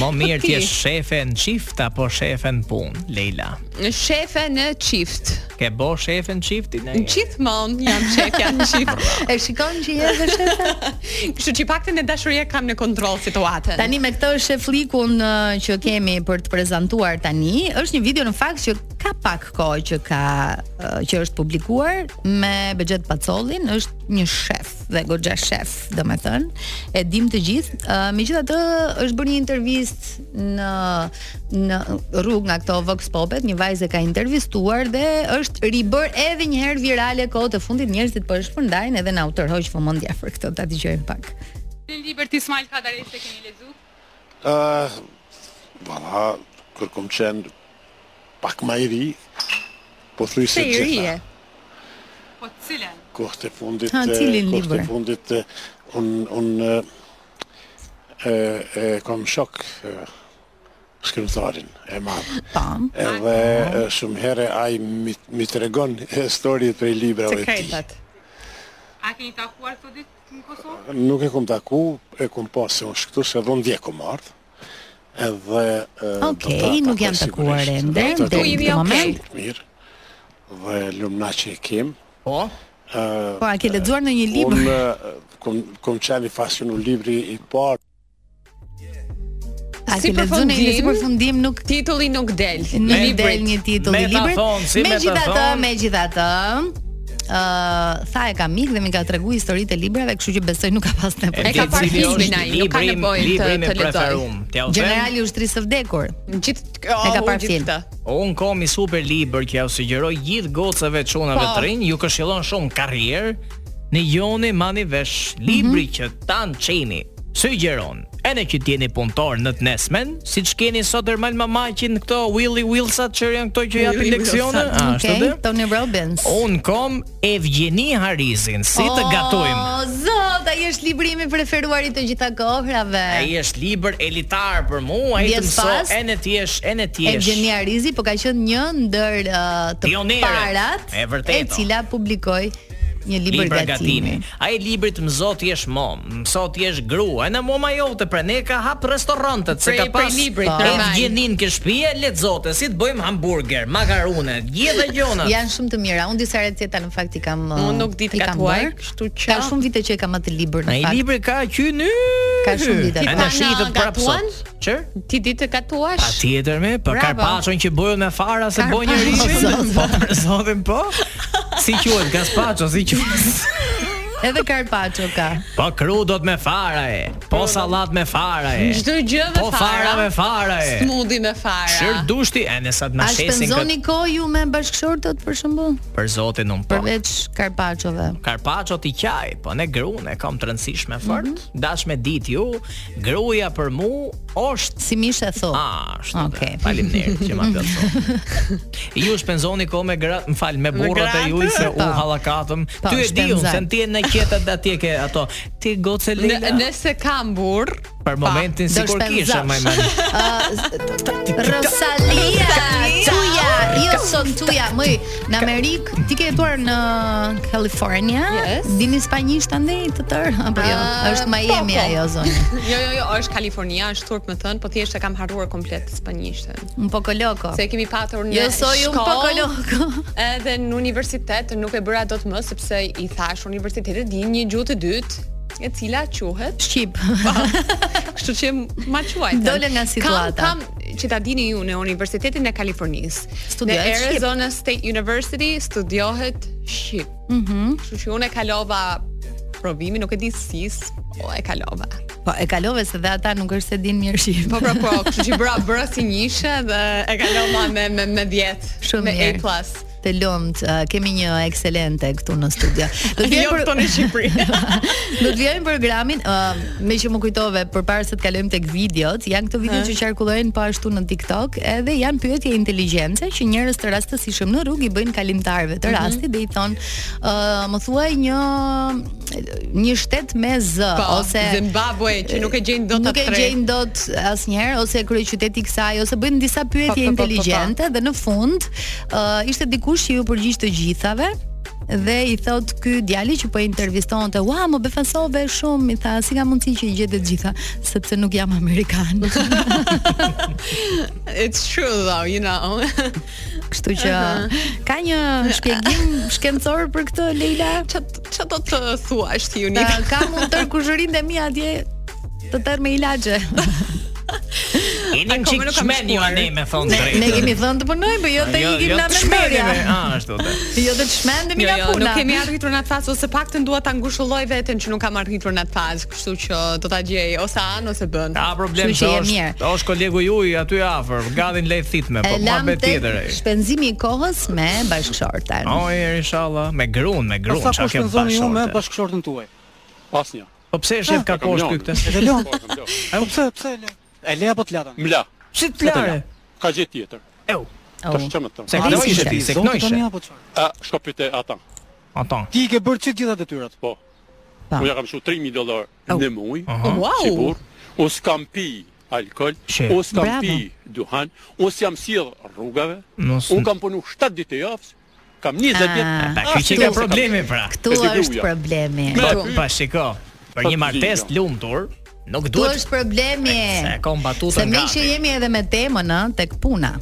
Speaker 6: Më mirë
Speaker 9: ti?
Speaker 6: t'jesh shefe në qift apo shefe në punë, Leila?
Speaker 9: Shefe në qift.
Speaker 6: Ke bo shefe në qiftin e?
Speaker 9: Në gjithmonë jam shefja në qift.
Speaker 8: *laughs* E shikon që je edhe shefe.
Speaker 9: Kështu që i paktën e dashuria kam në kontroll situatën.
Speaker 8: Tani me këtë sheflikun ë, që kemi për të prezantuar tani, është një video në fakt që ka pak kohë që ka ë, që është publikuar me Bexhet Pacollin, është një shef dhe goxha shef, domethënë, e dim të gjithë. Ë, Megjithatë është bërë një intervistë në në rrugë nga këto Vox Popet, një vajzë e ka intervistuar dhe është ribër edhe një herë virale kohët e fundit, njerëzit po e shpërndajnë edhe na u tërhoq vëmendja për këtë, ta dëgjojmë pak.
Speaker 10: Liberty Smile ka darese keni lezu?
Speaker 11: Uh, Valla, kur kom qenë pak ma i ri, po thuj se
Speaker 9: Se i ri
Speaker 11: gjitha
Speaker 9: je.
Speaker 10: Po cilën?
Speaker 11: kohët e fundit,
Speaker 8: Ha,
Speaker 11: e,
Speaker 8: cilin
Speaker 11: kohët
Speaker 8: libër?
Speaker 11: e fundit, e, unë un, e, e, e, kam shok e, shkrimtarin e madh.
Speaker 8: Tam.
Speaker 11: Edhe e, shumë here ai mi, mi tregon historit prej librave të tij.
Speaker 9: Sekretat.
Speaker 10: A keni takuar sot ditë në Kosovë?
Speaker 11: Nuk e kom taku, e kom pas se unë shkëtu, se dhe unë dje kom ardhë. Edhe... e, do
Speaker 8: Okej,
Speaker 11: ta
Speaker 8: nuk
Speaker 11: takoj
Speaker 8: janë takuar
Speaker 11: sigurisht.
Speaker 8: ende,
Speaker 11: Do ta takoj
Speaker 8: deri në
Speaker 9: këtë
Speaker 11: shumë
Speaker 9: moment.
Speaker 11: Mirë, dhe lumna që i kem.
Speaker 6: Po?
Speaker 8: Po, a ke lexuar në një libër?
Speaker 11: Unë e, kom, kom qenë i fasionu libri i parë,
Speaker 8: A
Speaker 9: Si
Speaker 8: ke lexuar në një
Speaker 9: përfundim,
Speaker 8: si përfundim nuk
Speaker 9: Titulli nuk del.
Speaker 8: nuk
Speaker 9: Librit.
Speaker 8: del një titull i librit.
Speaker 6: Metafon, si
Speaker 8: Megjithatë,
Speaker 6: metafon.
Speaker 8: megjithatë, ë tha e ka mik dhe më ka tregu historitë e librave, kështu që besoj nuk ka pas
Speaker 6: E
Speaker 8: nevojë.
Speaker 9: ka
Speaker 6: di
Speaker 9: parë
Speaker 6: cili
Speaker 9: filmin
Speaker 6: është
Speaker 9: ai, nuk ka
Speaker 6: libri-
Speaker 9: nevojë të-
Speaker 6: libri me
Speaker 9: të lexoj.
Speaker 6: preferum. T'ja u them,
Speaker 8: Generali ushtrisë së vdekur.
Speaker 9: Gjithë
Speaker 8: E
Speaker 9: oh,
Speaker 8: ka parë film.
Speaker 6: unë kom i super libër që ja u sugjeroj gjithë gocave të çunave
Speaker 9: Po.
Speaker 6: të rinj, ju këshillon shumë karrierë. Në joni mani vesh
Speaker 9: Mhm.
Speaker 6: libri që tan çeni. Sugjeron. E ne që t'jeni punëtor në të nesmen, si që keni sot Ermal Mamaqin këto Willy Wilsat që janë këto që japin
Speaker 9: Willy
Speaker 6: leksione, a, ashtu
Speaker 8: Okej,
Speaker 6: dhe?
Speaker 8: Tony Robbins. Oh.
Speaker 6: Unë kom Evgeni Harizin, si të gatojmë.
Speaker 8: O, zot, sot ai është librimi preferuar i të gjitha kohrave.
Speaker 6: Ai është libër elitar për mua, ai të
Speaker 8: Vjen
Speaker 6: mëso
Speaker 8: pas-
Speaker 6: e në tjesh, e në tjesh.
Speaker 8: Eugenia Rizi po ka qenë një ndër uh, të
Speaker 6: Pionere,
Speaker 8: parat
Speaker 6: e vërtetë.
Speaker 8: cila publikoi një libër
Speaker 6: Libër
Speaker 8: gatimi.
Speaker 6: gatimi. Ai libri të mëso ti jesh mom, mëso ti jesh grua, e në moma jote pra ne ka hap restorantet se
Speaker 9: Prej-
Speaker 6: ka
Speaker 9: prej
Speaker 6: pas.
Speaker 9: librit,
Speaker 8: Po.
Speaker 6: Pa. E
Speaker 9: normal.
Speaker 6: gjenin ke shtëpi, lexote, si të bëjmë hamburger, makarone, gjithë gjonat.
Speaker 8: Janë shumë të mira. Unë disa receta në fakt i kam uh,
Speaker 9: Unë nuk di të
Speaker 8: i kam
Speaker 9: gatuaj,
Speaker 8: bërë.
Speaker 9: kështu që-
Speaker 8: ka shumë vite që e kam atë libër në
Speaker 6: Ai
Speaker 8: fakt.
Speaker 6: libri ka qynë ny.
Speaker 8: Ka shumë vite.
Speaker 6: E
Speaker 8: Ti
Speaker 6: në
Speaker 9: pa
Speaker 6: shitët
Speaker 9: në
Speaker 6: prap
Speaker 9: gatuan?
Speaker 6: sot. Çer?
Speaker 9: Ti ditë
Speaker 6: Pa
Speaker 9: katuash?
Speaker 6: tjetër me, po
Speaker 9: Bravo.
Speaker 6: karpacon që bojën me fara se bojë një
Speaker 8: Karpacon,
Speaker 6: rishi.
Speaker 8: zot.
Speaker 6: Po për zotin po. Si quhet gazpacho, si quhet?
Speaker 8: Edhe karpaço ka.
Speaker 6: Po kru do të me fara e. Po sallat me fara e.
Speaker 9: Çdo gjë me
Speaker 6: Po fara me fara e.
Speaker 9: Smoothie me fara.
Speaker 6: Shër dushti e nësa të
Speaker 8: A
Speaker 6: na shesin këtë
Speaker 8: shpenzoni kohë ju me bashkëshortët për shembull?
Speaker 6: për zotin unë po.
Speaker 8: Përveç karpaçove.
Speaker 6: Karpacho ti qaj, po ne grun e kam të rëndësishme fort. Dash me ditë ju, gruaja për mu është
Speaker 8: Si mish e thot.
Speaker 6: Ashtu.
Speaker 8: Okej.
Speaker 6: Okay. Faleminderit që
Speaker 8: *laughs*
Speaker 6: ma plotësoni. Ju shpenzoni kohë me gra, më fal, me burrat e juaj se u
Speaker 8: Po.
Speaker 6: hallakatëm.
Speaker 8: Po,
Speaker 6: Ty e di unë
Speaker 8: shpenzaj.
Speaker 6: se ti e në qetet atje ke ato. Ti gocë
Speaker 9: N-
Speaker 6: Leila.
Speaker 9: Nëse kam burr,
Speaker 6: Për momentin
Speaker 8: do
Speaker 6: sikur kishe
Speaker 8: shpenzash.
Speaker 6: më më.
Speaker 8: Rosalia, tuja, jo son tuja. Mëj, në Amerikë, ti ke jetuar në California?
Speaker 9: Yes.
Speaker 8: Dini spanjisht andej të tërë apo jo?
Speaker 9: Ah,
Speaker 8: Është Miami
Speaker 9: po, po.
Speaker 8: ajo zonë.
Speaker 9: *laughs* jo jo jo, është Kalifornia, është turp më thën, po thjesht e kam harruar komplet spanjishtën.
Speaker 8: Un poco loco.
Speaker 9: Se e kemi patur në
Speaker 8: Jo soj un poco
Speaker 9: shkollë,
Speaker 8: loco.
Speaker 9: *laughs* Edhe në universitet nuk e bëra dot më sepse i thash universitetit di një gjuhë të dytë, e cila quhet,
Speaker 8: Shqip.
Speaker 9: *laughs* Po. kështu që ma quajtën.
Speaker 8: Dole nga situata.
Speaker 9: Kam, kam që ta dini ju në Universitetin e Kalifornisë.
Speaker 8: Studiohet
Speaker 9: në
Speaker 8: shqip.
Speaker 9: Arizona State University studiohet shqip. Mhm. Kështu që unë e kalova provimin, nuk e di si, s- po e kalova.
Speaker 8: *laughs* Po e kalove se dhe ata nuk është se din mirë shqip.
Speaker 9: Po po po, kështu që bëra bëra si njëshe dhe e kalova me me me 10,
Speaker 8: Shumë
Speaker 9: me
Speaker 8: mirë.
Speaker 9: A+.
Speaker 8: Të lumt, uh, kemi një ekselente këtu në
Speaker 9: *laughs*
Speaker 8: studio. Do të vjen
Speaker 9: Jo
Speaker 8: për-
Speaker 9: këto në Shqipëri.
Speaker 8: *laughs* Do të vijojmë programin, ë, me që më kujtove përpara se të kalojmë tek videot, janë këto video që qarkullojnë po ashtu në TikTok, edhe janë pyetje inteligjence që njerëz të rastësishëm në rrugë i bëjnë kalimtarëve të rastit dhe i thonë, ë, më thuaj një një shtet me z
Speaker 9: Po,
Speaker 8: ose
Speaker 9: Zimbabwe që nuk e gjejnë dot
Speaker 8: nuk e
Speaker 9: atë.
Speaker 8: gjejnë dot asnjëherë ose kryeqyteti i kësaj ose bëjnë disa
Speaker 9: Po, po,
Speaker 8: pyetje
Speaker 9: po, po, po.
Speaker 8: inteligjente dhe në fund uh, ishte dikush që ju përgjigj të gjithave dhe i thot ky djali që po e intervistonte, "Ua, më befasove shumë." I tha, "Si ka mundësi që i gjete të gjitha, sepse nuk jam
Speaker 9: *laughs*
Speaker 8: amerikan."
Speaker 9: It's true though, you know. *laughs*
Speaker 8: Kështu që ka një shpjegim shkencor për këtë Leila.
Speaker 9: Ç'a do të thuash ti
Speaker 8: Ta,
Speaker 9: Unita?
Speaker 8: ka mund tër kushërinë e mia atje të tërë me ilaçe.
Speaker 6: Jeni
Speaker 9: Akoma
Speaker 6: më çik
Speaker 9: nuk kam
Speaker 6: çmen ju
Speaker 9: shkuar.
Speaker 6: anë me thon drejt.
Speaker 8: Ne kemi thënë të punojmë, po jo të ikim na
Speaker 6: të
Speaker 8: me
Speaker 6: shmendemi,
Speaker 8: mendorja.
Speaker 6: Ah, ashtu të.
Speaker 8: Jo të shmendemi nga puna.
Speaker 9: nuk kemi arritur në atë fazë ose paktën dua ta ngushulloj veten që nuk kam arritur në atë fazë, kështu që do ta gjej ose an ose bën.
Speaker 6: Ka problem
Speaker 8: Kështu
Speaker 6: se
Speaker 8: që je
Speaker 6: është,
Speaker 8: mirë.
Speaker 6: është kolegu juaj aty afër, gadin lejt thitme,
Speaker 8: E
Speaker 6: po
Speaker 8: lam
Speaker 6: marrë
Speaker 8: tek
Speaker 6: tjetër. ai.
Speaker 8: shpenzimi i kohës me Oh. bashkëshorten.
Speaker 6: Oj, inshallah, me grun, me grun,
Speaker 11: Sa
Speaker 6: çka
Speaker 11: po
Speaker 6: ke
Speaker 11: shpenzoni ju me
Speaker 6: bashkë.
Speaker 11: bashkëshortën tuaj? Asnjë.
Speaker 6: Po pse e shef ka
Speaker 11: Kam
Speaker 6: kosh
Speaker 11: lënë.
Speaker 6: ky këtë?
Speaker 11: Edhe lëm. E po pse pse e lëm? E le apo të latën? Mla.
Speaker 6: Si të lare?
Speaker 11: Ka gjë tjetër.
Speaker 6: Eu.
Speaker 8: Oh.
Speaker 6: Se
Speaker 8: Ai si
Speaker 6: knojshe
Speaker 8: shef?
Speaker 6: ti, se knojshe.
Speaker 11: apo çfarë?
Speaker 3: A, shko pyte ata.
Speaker 6: Ato.
Speaker 11: Ti i ke bërë çit gjitha detyrat.
Speaker 3: Po.
Speaker 8: Pa.
Speaker 3: Unë ja kam shu 3.000 dolar në muj, si
Speaker 9: Po, Wow.
Speaker 3: burr. Unë s'kam pi alkohol,
Speaker 6: Shef.
Speaker 3: unë s'kam
Speaker 8: Bravo.
Speaker 3: pi duhan, unë s'jam sjell rrugave,
Speaker 6: Mos-
Speaker 3: unë kam punu 7 ditë e javës, kam 20
Speaker 8: Ah,
Speaker 3: vjetë.
Speaker 6: Pa ky që ka problemi pra.
Speaker 8: Ktu
Speaker 3: E di ku
Speaker 8: është
Speaker 3: jam.
Speaker 8: problemi.
Speaker 6: Po,
Speaker 3: Me-
Speaker 6: pa shiko. Për
Speaker 3: Po,
Speaker 6: një martesë
Speaker 3: gjigjo.
Speaker 6: të lumtur, nuk
Speaker 8: Ktu
Speaker 6: duhet
Speaker 8: është problemi.
Speaker 6: Se e kom batutën
Speaker 8: Se me
Speaker 6: gati.
Speaker 8: që jemi edhe me temën, ë, tek puna.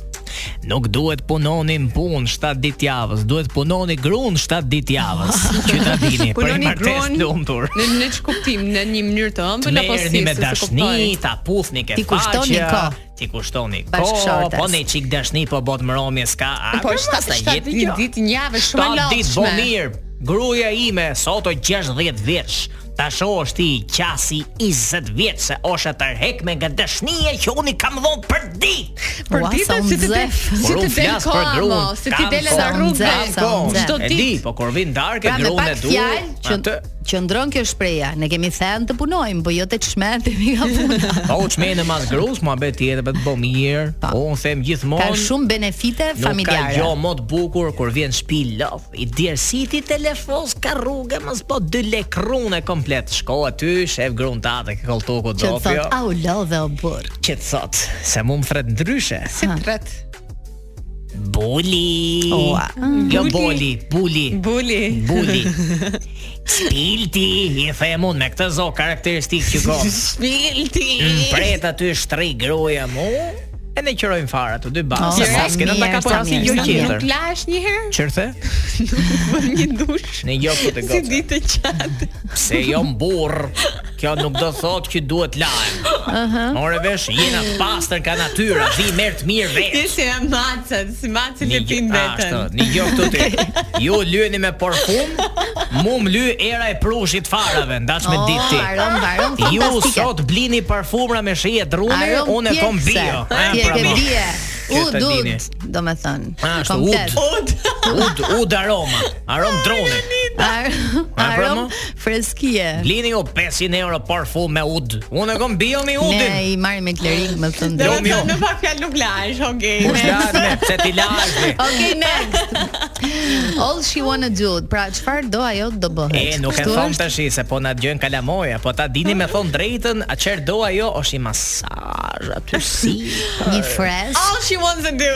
Speaker 6: Nuk duhet punoni në punë 7 ditë javës, duhet punoni gruan 7 ditë javës. Që ta
Speaker 9: *laughs*
Speaker 6: dini, për një
Speaker 9: Punoni
Speaker 6: martesë
Speaker 9: gruan.
Speaker 6: të lumtur.
Speaker 9: Në në ç'kuptim, në një mënyrë të ëmbël apo si?
Speaker 6: Merrni me
Speaker 9: se se kuptoj.
Speaker 6: dashni, ta puthni ke
Speaker 8: Ti kushton një kohë.
Speaker 6: ti kushtoni kohë,
Speaker 8: Bashkëshortes.
Speaker 6: po ne çik dashni, po bot mëromje s'ka. a,
Speaker 9: Po
Speaker 6: kërë,
Speaker 9: shtat
Speaker 6: pastaj
Speaker 9: shtat
Speaker 6: jetë
Speaker 9: ditë
Speaker 6: mira.
Speaker 9: ditë një javë shumë e
Speaker 6: Shtat ditë bo
Speaker 9: lodhshme.
Speaker 6: mirë. Gruaja ime sot o 60 vjeç. Tash është ti qasi 20 vjeç se osha tërhek me nga dashnia që unë i kam dhënë për ditë.
Speaker 9: Për
Speaker 8: Ua, sa
Speaker 9: ditën si të del,
Speaker 8: unzef.
Speaker 9: *laughs* si
Speaker 6: Por
Speaker 9: të
Speaker 6: unë
Speaker 9: del
Speaker 6: flas për
Speaker 9: koha,
Speaker 6: gruan,
Speaker 9: mo, si ti
Speaker 6: kam
Speaker 9: del në
Speaker 6: kohë.
Speaker 9: rrugë.
Speaker 8: Kam kohë.
Speaker 9: Çdo
Speaker 6: E
Speaker 9: ditë.
Speaker 6: di, po kur vin darkë
Speaker 8: Pra me
Speaker 6: gruan e
Speaker 8: pak
Speaker 6: du.
Speaker 8: fjalë që
Speaker 6: atë-
Speaker 8: që qëndron kjo shpreha. Ne kemi thënë të punojmë, po jo të çmendemi nga
Speaker 6: *laughs*
Speaker 8: puna.
Speaker 6: Po u çmendë mas grus, muhabet tjetër për të bë mirë. Po unë them gjithmonë.
Speaker 8: Ka shumë benefite
Speaker 6: Nuk ka gjë
Speaker 8: familjare.
Speaker 6: më të bukur kur vjen shtëpi lodh. I djersiti telefos ka rrugë, mos po dy lek rrune komplet. Shko aty, shef gruntate ke koltoku
Speaker 8: Që të
Speaker 6: dopio.
Speaker 8: thot, au lodhe o burr.
Speaker 6: Që të thot, se mu më fret ndryshe.
Speaker 9: Si tret.
Speaker 6: Buli.
Speaker 8: Ua.
Speaker 6: Jo boli, buli.
Speaker 9: Buli.
Speaker 8: *laughs*
Speaker 6: Buli. Spilti, i them unë me këtë zo karakteristik që ka.
Speaker 9: Shpilti.
Speaker 6: Mm, Pret aty shtri gruaja mu. E ne qërojmë fare aty dy banë,
Speaker 8: Oh,
Speaker 6: se
Speaker 8: sa
Speaker 6: pas këta ta
Speaker 8: mirë,
Speaker 6: ka
Speaker 8: sa
Speaker 6: parë si
Speaker 8: mirë,
Speaker 6: gjë
Speaker 8: sa mirë.
Speaker 6: tjetër.
Speaker 9: Nuk lash një herë
Speaker 6: Çerthe?
Speaker 9: për një dush.
Speaker 6: Në jo ku të
Speaker 9: Si
Speaker 6: gocë.
Speaker 9: ditë qatë.
Speaker 6: Se jo mburr. Kjo nuk do thotë që duhet lajm. Ëhë. Morë vesh, jena të pastër ka natyra, di merr të mirë
Speaker 9: Ti
Speaker 6: vetë.
Speaker 9: si e macën, si macën le pin vetën.
Speaker 6: Një gjë këtu ti. Ju lyeni me parfum, mu më ly era e prushit farave, ndaç me
Speaker 8: Oh,
Speaker 6: ditë ti.
Speaker 8: Aron, aron,
Speaker 6: Ju
Speaker 8: fantastike.
Speaker 6: sot blini parfumra me shije drune, unë e kom bio. pra,
Speaker 8: Ti e ke bie. U
Speaker 6: Këtë
Speaker 8: dud,
Speaker 6: dini.
Speaker 8: do me thënë.
Speaker 6: Ah, ashtu,
Speaker 8: komplet.
Speaker 6: ud. Ud, ud aroma. Arom drone.
Speaker 8: *laughs* Ar-
Speaker 6: A, pra, mo?
Speaker 8: Arom freskije.
Speaker 6: Blini ju 500 euro parfum me ud. Unë e kom bio me udin.
Speaker 8: Ne i marrim me klerik më të
Speaker 9: Dhe
Speaker 6: Jo,
Speaker 9: me
Speaker 8: ndrojmë.
Speaker 6: jo.
Speaker 9: thënë në pak fjalë nuk lash, okay.
Speaker 6: Kush lajme, pse ti lajme?
Speaker 8: Okay, next. *laughs* All she wanna do. Pra, çfarë do ajo do bëhet?
Speaker 6: E, nuk e
Speaker 8: Kështu
Speaker 6: thon
Speaker 8: është? Mm.
Speaker 6: tash se po na dëgjojnë kalamoja, po ta dini me thon drejtën, a çer do ajo është i masazh aty si.
Speaker 8: Një fresh.
Speaker 6: Oh!
Speaker 9: All she wants to do.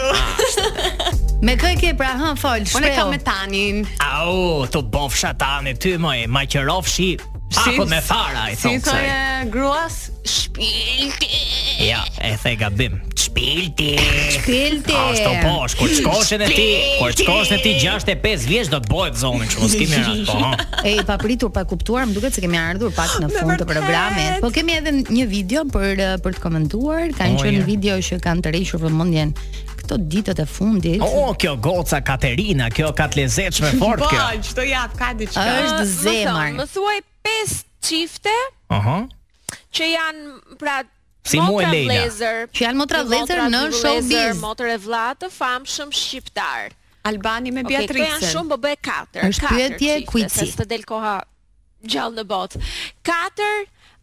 Speaker 8: Me kë e ke pra hën fol,
Speaker 9: Unë
Speaker 8: shpreh.
Speaker 9: kam me tanin.
Speaker 6: Au, tu bofsha tani ty moj, ma qërofshi Ako po, me fara, i
Speaker 9: Si
Speaker 6: thonë kësaj.
Speaker 9: thonë eh, gruas shpilti.
Speaker 6: Ja, e the gabim. Shpilti.
Speaker 8: Shpilti.
Speaker 6: Ashtu po, është, kur shkoshin e ti, kur
Speaker 9: Shpilti.
Speaker 6: shkoshin e ti 65 vjeç do të bëhet zonë kështu, mos kimi rast, po.
Speaker 8: *laughs*
Speaker 6: ha.
Speaker 8: *laughs* E i papritur pa kuptuar, më duket se kemi ardhur pak në fund të
Speaker 9: vërtet.
Speaker 8: programit. Po kemi edhe një video për eh, për të komentuar, kanë
Speaker 6: O,
Speaker 8: qenë
Speaker 6: Oh, ja.
Speaker 8: video që kanë tërhequr vëmendjen këto ditët e fundit.
Speaker 6: O, kjo goca Katerina, kjo ka të lezetshme fort
Speaker 9: Po,
Speaker 6: kjo.
Speaker 9: çdo jap ka diçka.
Speaker 8: Është
Speaker 4: Ë,
Speaker 8: zemër.
Speaker 4: Më, thon, më thuaj 5 çifte
Speaker 6: Aha.
Speaker 4: që janë pra
Speaker 6: Si
Speaker 4: motra
Speaker 6: mua e Leila.
Speaker 4: vlezër.
Speaker 8: Që janë motra
Speaker 4: Një
Speaker 8: vlezër
Speaker 4: motra,
Speaker 8: në
Speaker 4: dy
Speaker 8: showbiz.
Speaker 4: vlezër, Motër e vlla të famshëm shqiptar.
Speaker 9: Albani me
Speaker 4: Okej, këto
Speaker 9: Beatricën.
Speaker 4: janë shumë, po bëhe 4.
Speaker 8: Është pyetje kuici.
Speaker 4: Se s'të del koha gjallë në botë. 4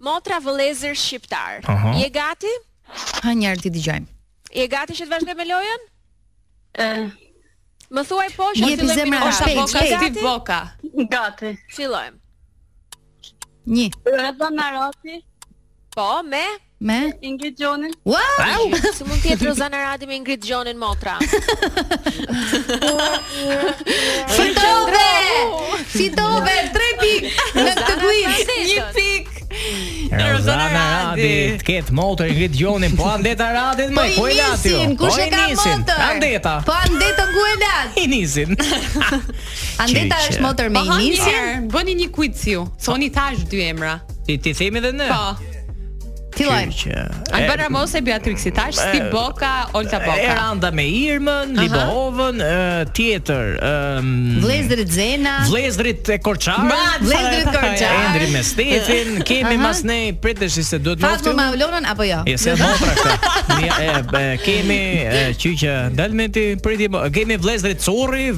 Speaker 4: motra vëllezër shqiptar.
Speaker 6: Aha.
Speaker 4: Je gati?
Speaker 8: Ha një herë ti dëgjojmë.
Speaker 4: Je gati që të vazhdoj me lojën? Më thuaj po që
Speaker 8: Jepi
Speaker 4: fillojmë
Speaker 8: zemra,
Speaker 4: me lojën.
Speaker 8: Osha shpejt,
Speaker 9: Boka
Speaker 8: shpejt.
Speaker 9: Steve Boka.
Speaker 10: Gati.
Speaker 4: Fillojmë.
Speaker 8: Një
Speaker 10: Reza Narati,
Speaker 4: Po, me
Speaker 8: me
Speaker 10: Ingrid Gjoni,
Speaker 8: Wow!
Speaker 4: Si mund tjetë Rozana Radi me Ingrid Gjonin motra
Speaker 8: Fitove! Fitove 3 pikë në këtë quiz.
Speaker 9: Një pik. Rozana
Speaker 6: Rozana Radi,
Speaker 9: Radi.
Speaker 6: të ketë motor i ngrit gjonin, po andeta Radin më, po e lati.
Speaker 8: nisin, kush e ka Po- motor?
Speaker 6: Andeta.
Speaker 8: Po andeta ku e lat?
Speaker 6: I
Speaker 8: *laughs*
Speaker 6: nisin.
Speaker 8: Andeta
Speaker 6: Qe, qe.
Speaker 8: është motor
Speaker 9: Po
Speaker 8: me i
Speaker 9: hajde një
Speaker 8: nisje.
Speaker 9: herë, bëni një quiz ju. Soni tash dy emra.
Speaker 6: Ti ti themi edhe ne.
Speaker 9: Po.
Speaker 8: Fillojmë.
Speaker 9: Alban Ramos e Beatrixi tash, Steve Boka, Olta Boka.
Speaker 6: Eranda me Irmën, Libohovën, e, tjetër, ëm
Speaker 8: Vlezërit Zena.
Speaker 6: Vlezrit e Korçar.
Speaker 9: Ma,
Speaker 6: *laughs*
Speaker 8: Vlezërit
Speaker 9: Sa-
Speaker 8: Korçar.
Speaker 6: Endri me Stefin, kemi
Speaker 8: Aha.
Speaker 6: mas ne pritesh se duhet
Speaker 8: Fatma
Speaker 6: luftim.
Speaker 8: me Ulonën apo jo?
Speaker 6: E se motra këtë Mi- e, e, Kemi e, qyqe Dal me ti priti mo- Kemi vlezrit curri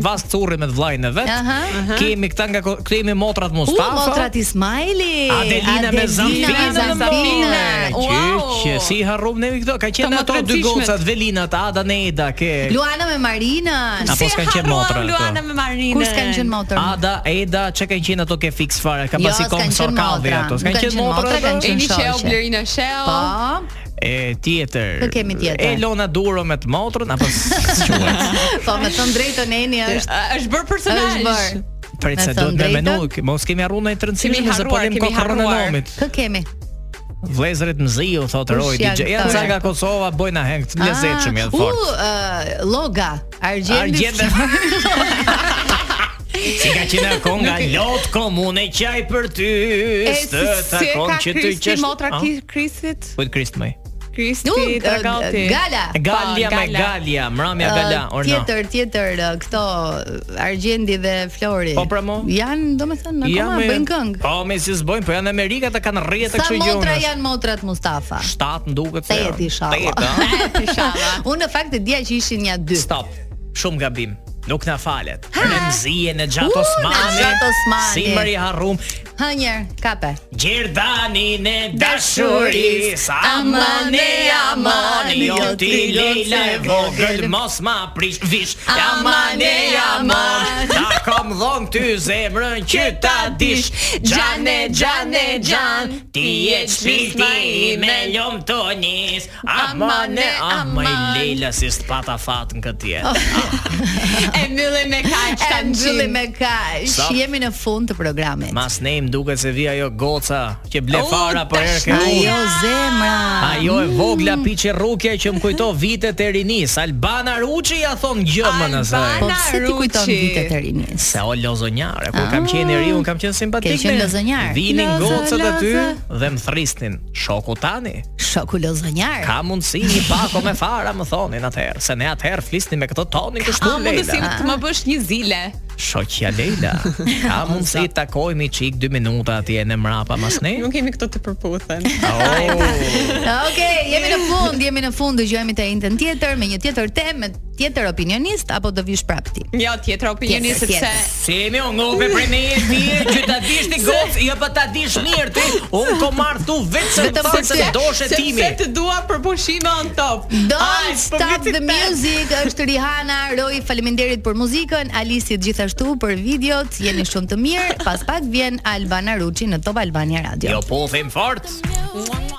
Speaker 6: Vas curri me të vlajnë e vetë
Speaker 8: Aha.
Speaker 6: Kemi këta nga ko- Kemi motrat
Speaker 8: U
Speaker 6: Mustafa
Speaker 8: motrat Ismaili.
Speaker 6: Adelina me Zamfina,
Speaker 8: Zamfina.
Speaker 9: Wow.
Speaker 6: Qyqe Si harrum neve këto Ka
Speaker 9: Të
Speaker 6: qenë ato dy
Speaker 9: motratishmet.
Speaker 6: gocat Velina ta Ada Neda ke
Speaker 8: Luana me Marinën.
Speaker 6: Apo s'kan qenë motra
Speaker 9: Harruam Luana
Speaker 6: ato
Speaker 9: me Marinën.
Speaker 8: Kur s'kan qenë motor?
Speaker 6: Ada, Eda, që kanë qenë ato ke fix fare Ka
Speaker 8: Jo,
Speaker 6: pasi kom
Speaker 8: s'kan qenë
Speaker 6: sorkavi
Speaker 8: motra.
Speaker 6: ato S'kan
Speaker 8: Nuk kanë
Speaker 6: qenë
Speaker 8: qenë
Speaker 6: motra
Speaker 8: motra,
Speaker 6: ato?
Speaker 8: kanë qenë
Speaker 9: Eni Shell,
Speaker 8: shoqe.
Speaker 9: Blerina Shell.
Speaker 8: Po.
Speaker 6: E tjetër
Speaker 8: Kë kemi tjetër?
Speaker 6: Elona Duro me të motrën Apo *laughs* s'quhet
Speaker 8: Po me të drejtën Eni është
Speaker 9: Ë, Është bërë personazh.
Speaker 8: është bër.
Speaker 6: Prej
Speaker 8: Me
Speaker 6: se
Speaker 8: thënë
Speaker 6: do të me
Speaker 8: drejtën?
Speaker 6: menu, k- mos kemi harruar ndonjë të
Speaker 9: Kemi
Speaker 6: rëndësishme se po
Speaker 9: harruar,
Speaker 6: lëm
Speaker 9: kemi
Speaker 6: kokën e
Speaker 9: harruar.
Speaker 6: nomit.
Speaker 8: Kë kemi?
Speaker 6: Vlezërit mziu thot
Speaker 8: Kush
Speaker 6: Roy
Speaker 8: janë
Speaker 6: DJ. Janë
Speaker 8: këta?
Speaker 6: ca nga Kosova bojnë aheng të lezetshëm janë
Speaker 8: Ah. U,
Speaker 6: fort.
Speaker 8: ë, Loga, Argjendi.
Speaker 6: Argjende. *laughs* Si ka qenë ako nga lot komune qaj për ty
Speaker 9: E
Speaker 6: Së
Speaker 9: si si e
Speaker 6: takon
Speaker 9: ka
Speaker 6: që ty
Speaker 9: Kristi
Speaker 6: qesh
Speaker 9: motra
Speaker 6: Ah,
Speaker 9: ki- Kristit?
Speaker 6: Kujt Krist mëj
Speaker 8: U,
Speaker 9: Kristi
Speaker 8: ë,
Speaker 9: Dragati.
Speaker 8: uh, Gala.
Speaker 6: Galja me
Speaker 9: Gala.
Speaker 6: Galja Mramja Gala
Speaker 8: Ë,
Speaker 6: Orna
Speaker 8: Eh, tjetër, tjetër ë, këto Argjendi dhe Flori.
Speaker 6: Po, pra, mo.
Speaker 8: Janë, domethënë, akoma
Speaker 6: me-
Speaker 8: bëjnë këngë.
Speaker 6: Po me si s'bojnë Po janë Amerika ta kanë rrjetë
Speaker 8: Sa
Speaker 6: kështu
Speaker 8: motra
Speaker 6: gjonash
Speaker 8: janë motrat Mustafa?
Speaker 6: 7 më duket se
Speaker 8: Teti
Speaker 6: janë.
Speaker 8: *laughs* inshallah.
Speaker 6: Tetë, ah?
Speaker 9: Inshallah.
Speaker 8: Unë në fakt e dija që ishin ja dy.
Speaker 6: Stop Shumë gabim Nuk na falet. Remzie në Xhat Osmani.
Speaker 8: në Xhat Osmani.
Speaker 6: Simër i harrum.
Speaker 8: Hënjer, kape.
Speaker 6: Gjerdani në dashuris Amane, amani Jo ti lejla e vogël Mos ma prish vish Amane, amani Ta kom dhon ty zemrën që ta dish Gjane, gjane, gjan Ti e qpilti me ljom të njës Amane, amani Oh, Lejla si s'pata fat në këtë jetë
Speaker 9: *laughs* E mbyllim me kaq
Speaker 8: E
Speaker 9: tanë
Speaker 8: mbyllim me kaq.
Speaker 6: Sa-
Speaker 8: Jemi në fund të programit.
Speaker 6: Mas ne im duket se vi ajo goca Që ble
Speaker 8: U,
Speaker 6: fara për herë ke u.
Speaker 8: Oh, Ajo zemra.
Speaker 6: Ajo e vogla piqe rrukja që më kujto vitet e rinis. Albana Ruçi ja thon gjëmën asaj.
Speaker 8: Po pse ti kujton vitet e rinis?
Speaker 6: Se o lozonjare, kur kam qenë eri, un kam qenë simpatik.
Speaker 8: Ah. Ke qenë
Speaker 6: ne.
Speaker 8: lozonjar.
Speaker 6: Vinin
Speaker 8: Lozo,
Speaker 6: gocat aty
Speaker 8: lozo.
Speaker 6: dhe më thrisnin. Shoku tani.
Speaker 8: Shoku lozonjar.
Speaker 6: Ka mundësi një pako me fara, më thonin atëherë, se ne atëherë flisnim me këtë tonin kështu
Speaker 9: A mund të si
Speaker 6: Leila.
Speaker 9: të më bësh një zile?
Speaker 6: Shoqja
Speaker 8: *laughs*
Speaker 6: Leila. Ka mundësi të takojmë i çik 2 minuta atje në mrapa mas ne.
Speaker 9: Nuk kemi këto të përputhen.
Speaker 6: Oh.
Speaker 8: Okej, jemi në fund, jemi në fund, dëgjojmë të njëjtën tjetër me një tjetër temë, me tjetër opinionist apo do vish prapë ti?
Speaker 9: Jo, tjetër opinioni
Speaker 8: Tjetër,
Speaker 9: sepse
Speaker 8: tjetër.
Speaker 6: Si jemi unë ngope prej ne e ti që ta dish ti gocë, jo pa ta dish mirë ti. Unë ko marr tu vetëm
Speaker 8: Vetëm
Speaker 6: për
Speaker 8: sepse-
Speaker 6: të doshe timi.
Speaker 9: sepse të dua për pushime on top.
Speaker 8: Don't
Speaker 9: Ai, po
Speaker 8: Stop
Speaker 9: viti
Speaker 8: the
Speaker 9: tet.
Speaker 8: Music është Rihanna, Roy, faleminderit për muzikën, Alisit gjithashtu për videot, jeni shumë të mirë. Pas pak vjen Albana Ruçi në Top Albania Radio.
Speaker 6: Jo po them fort.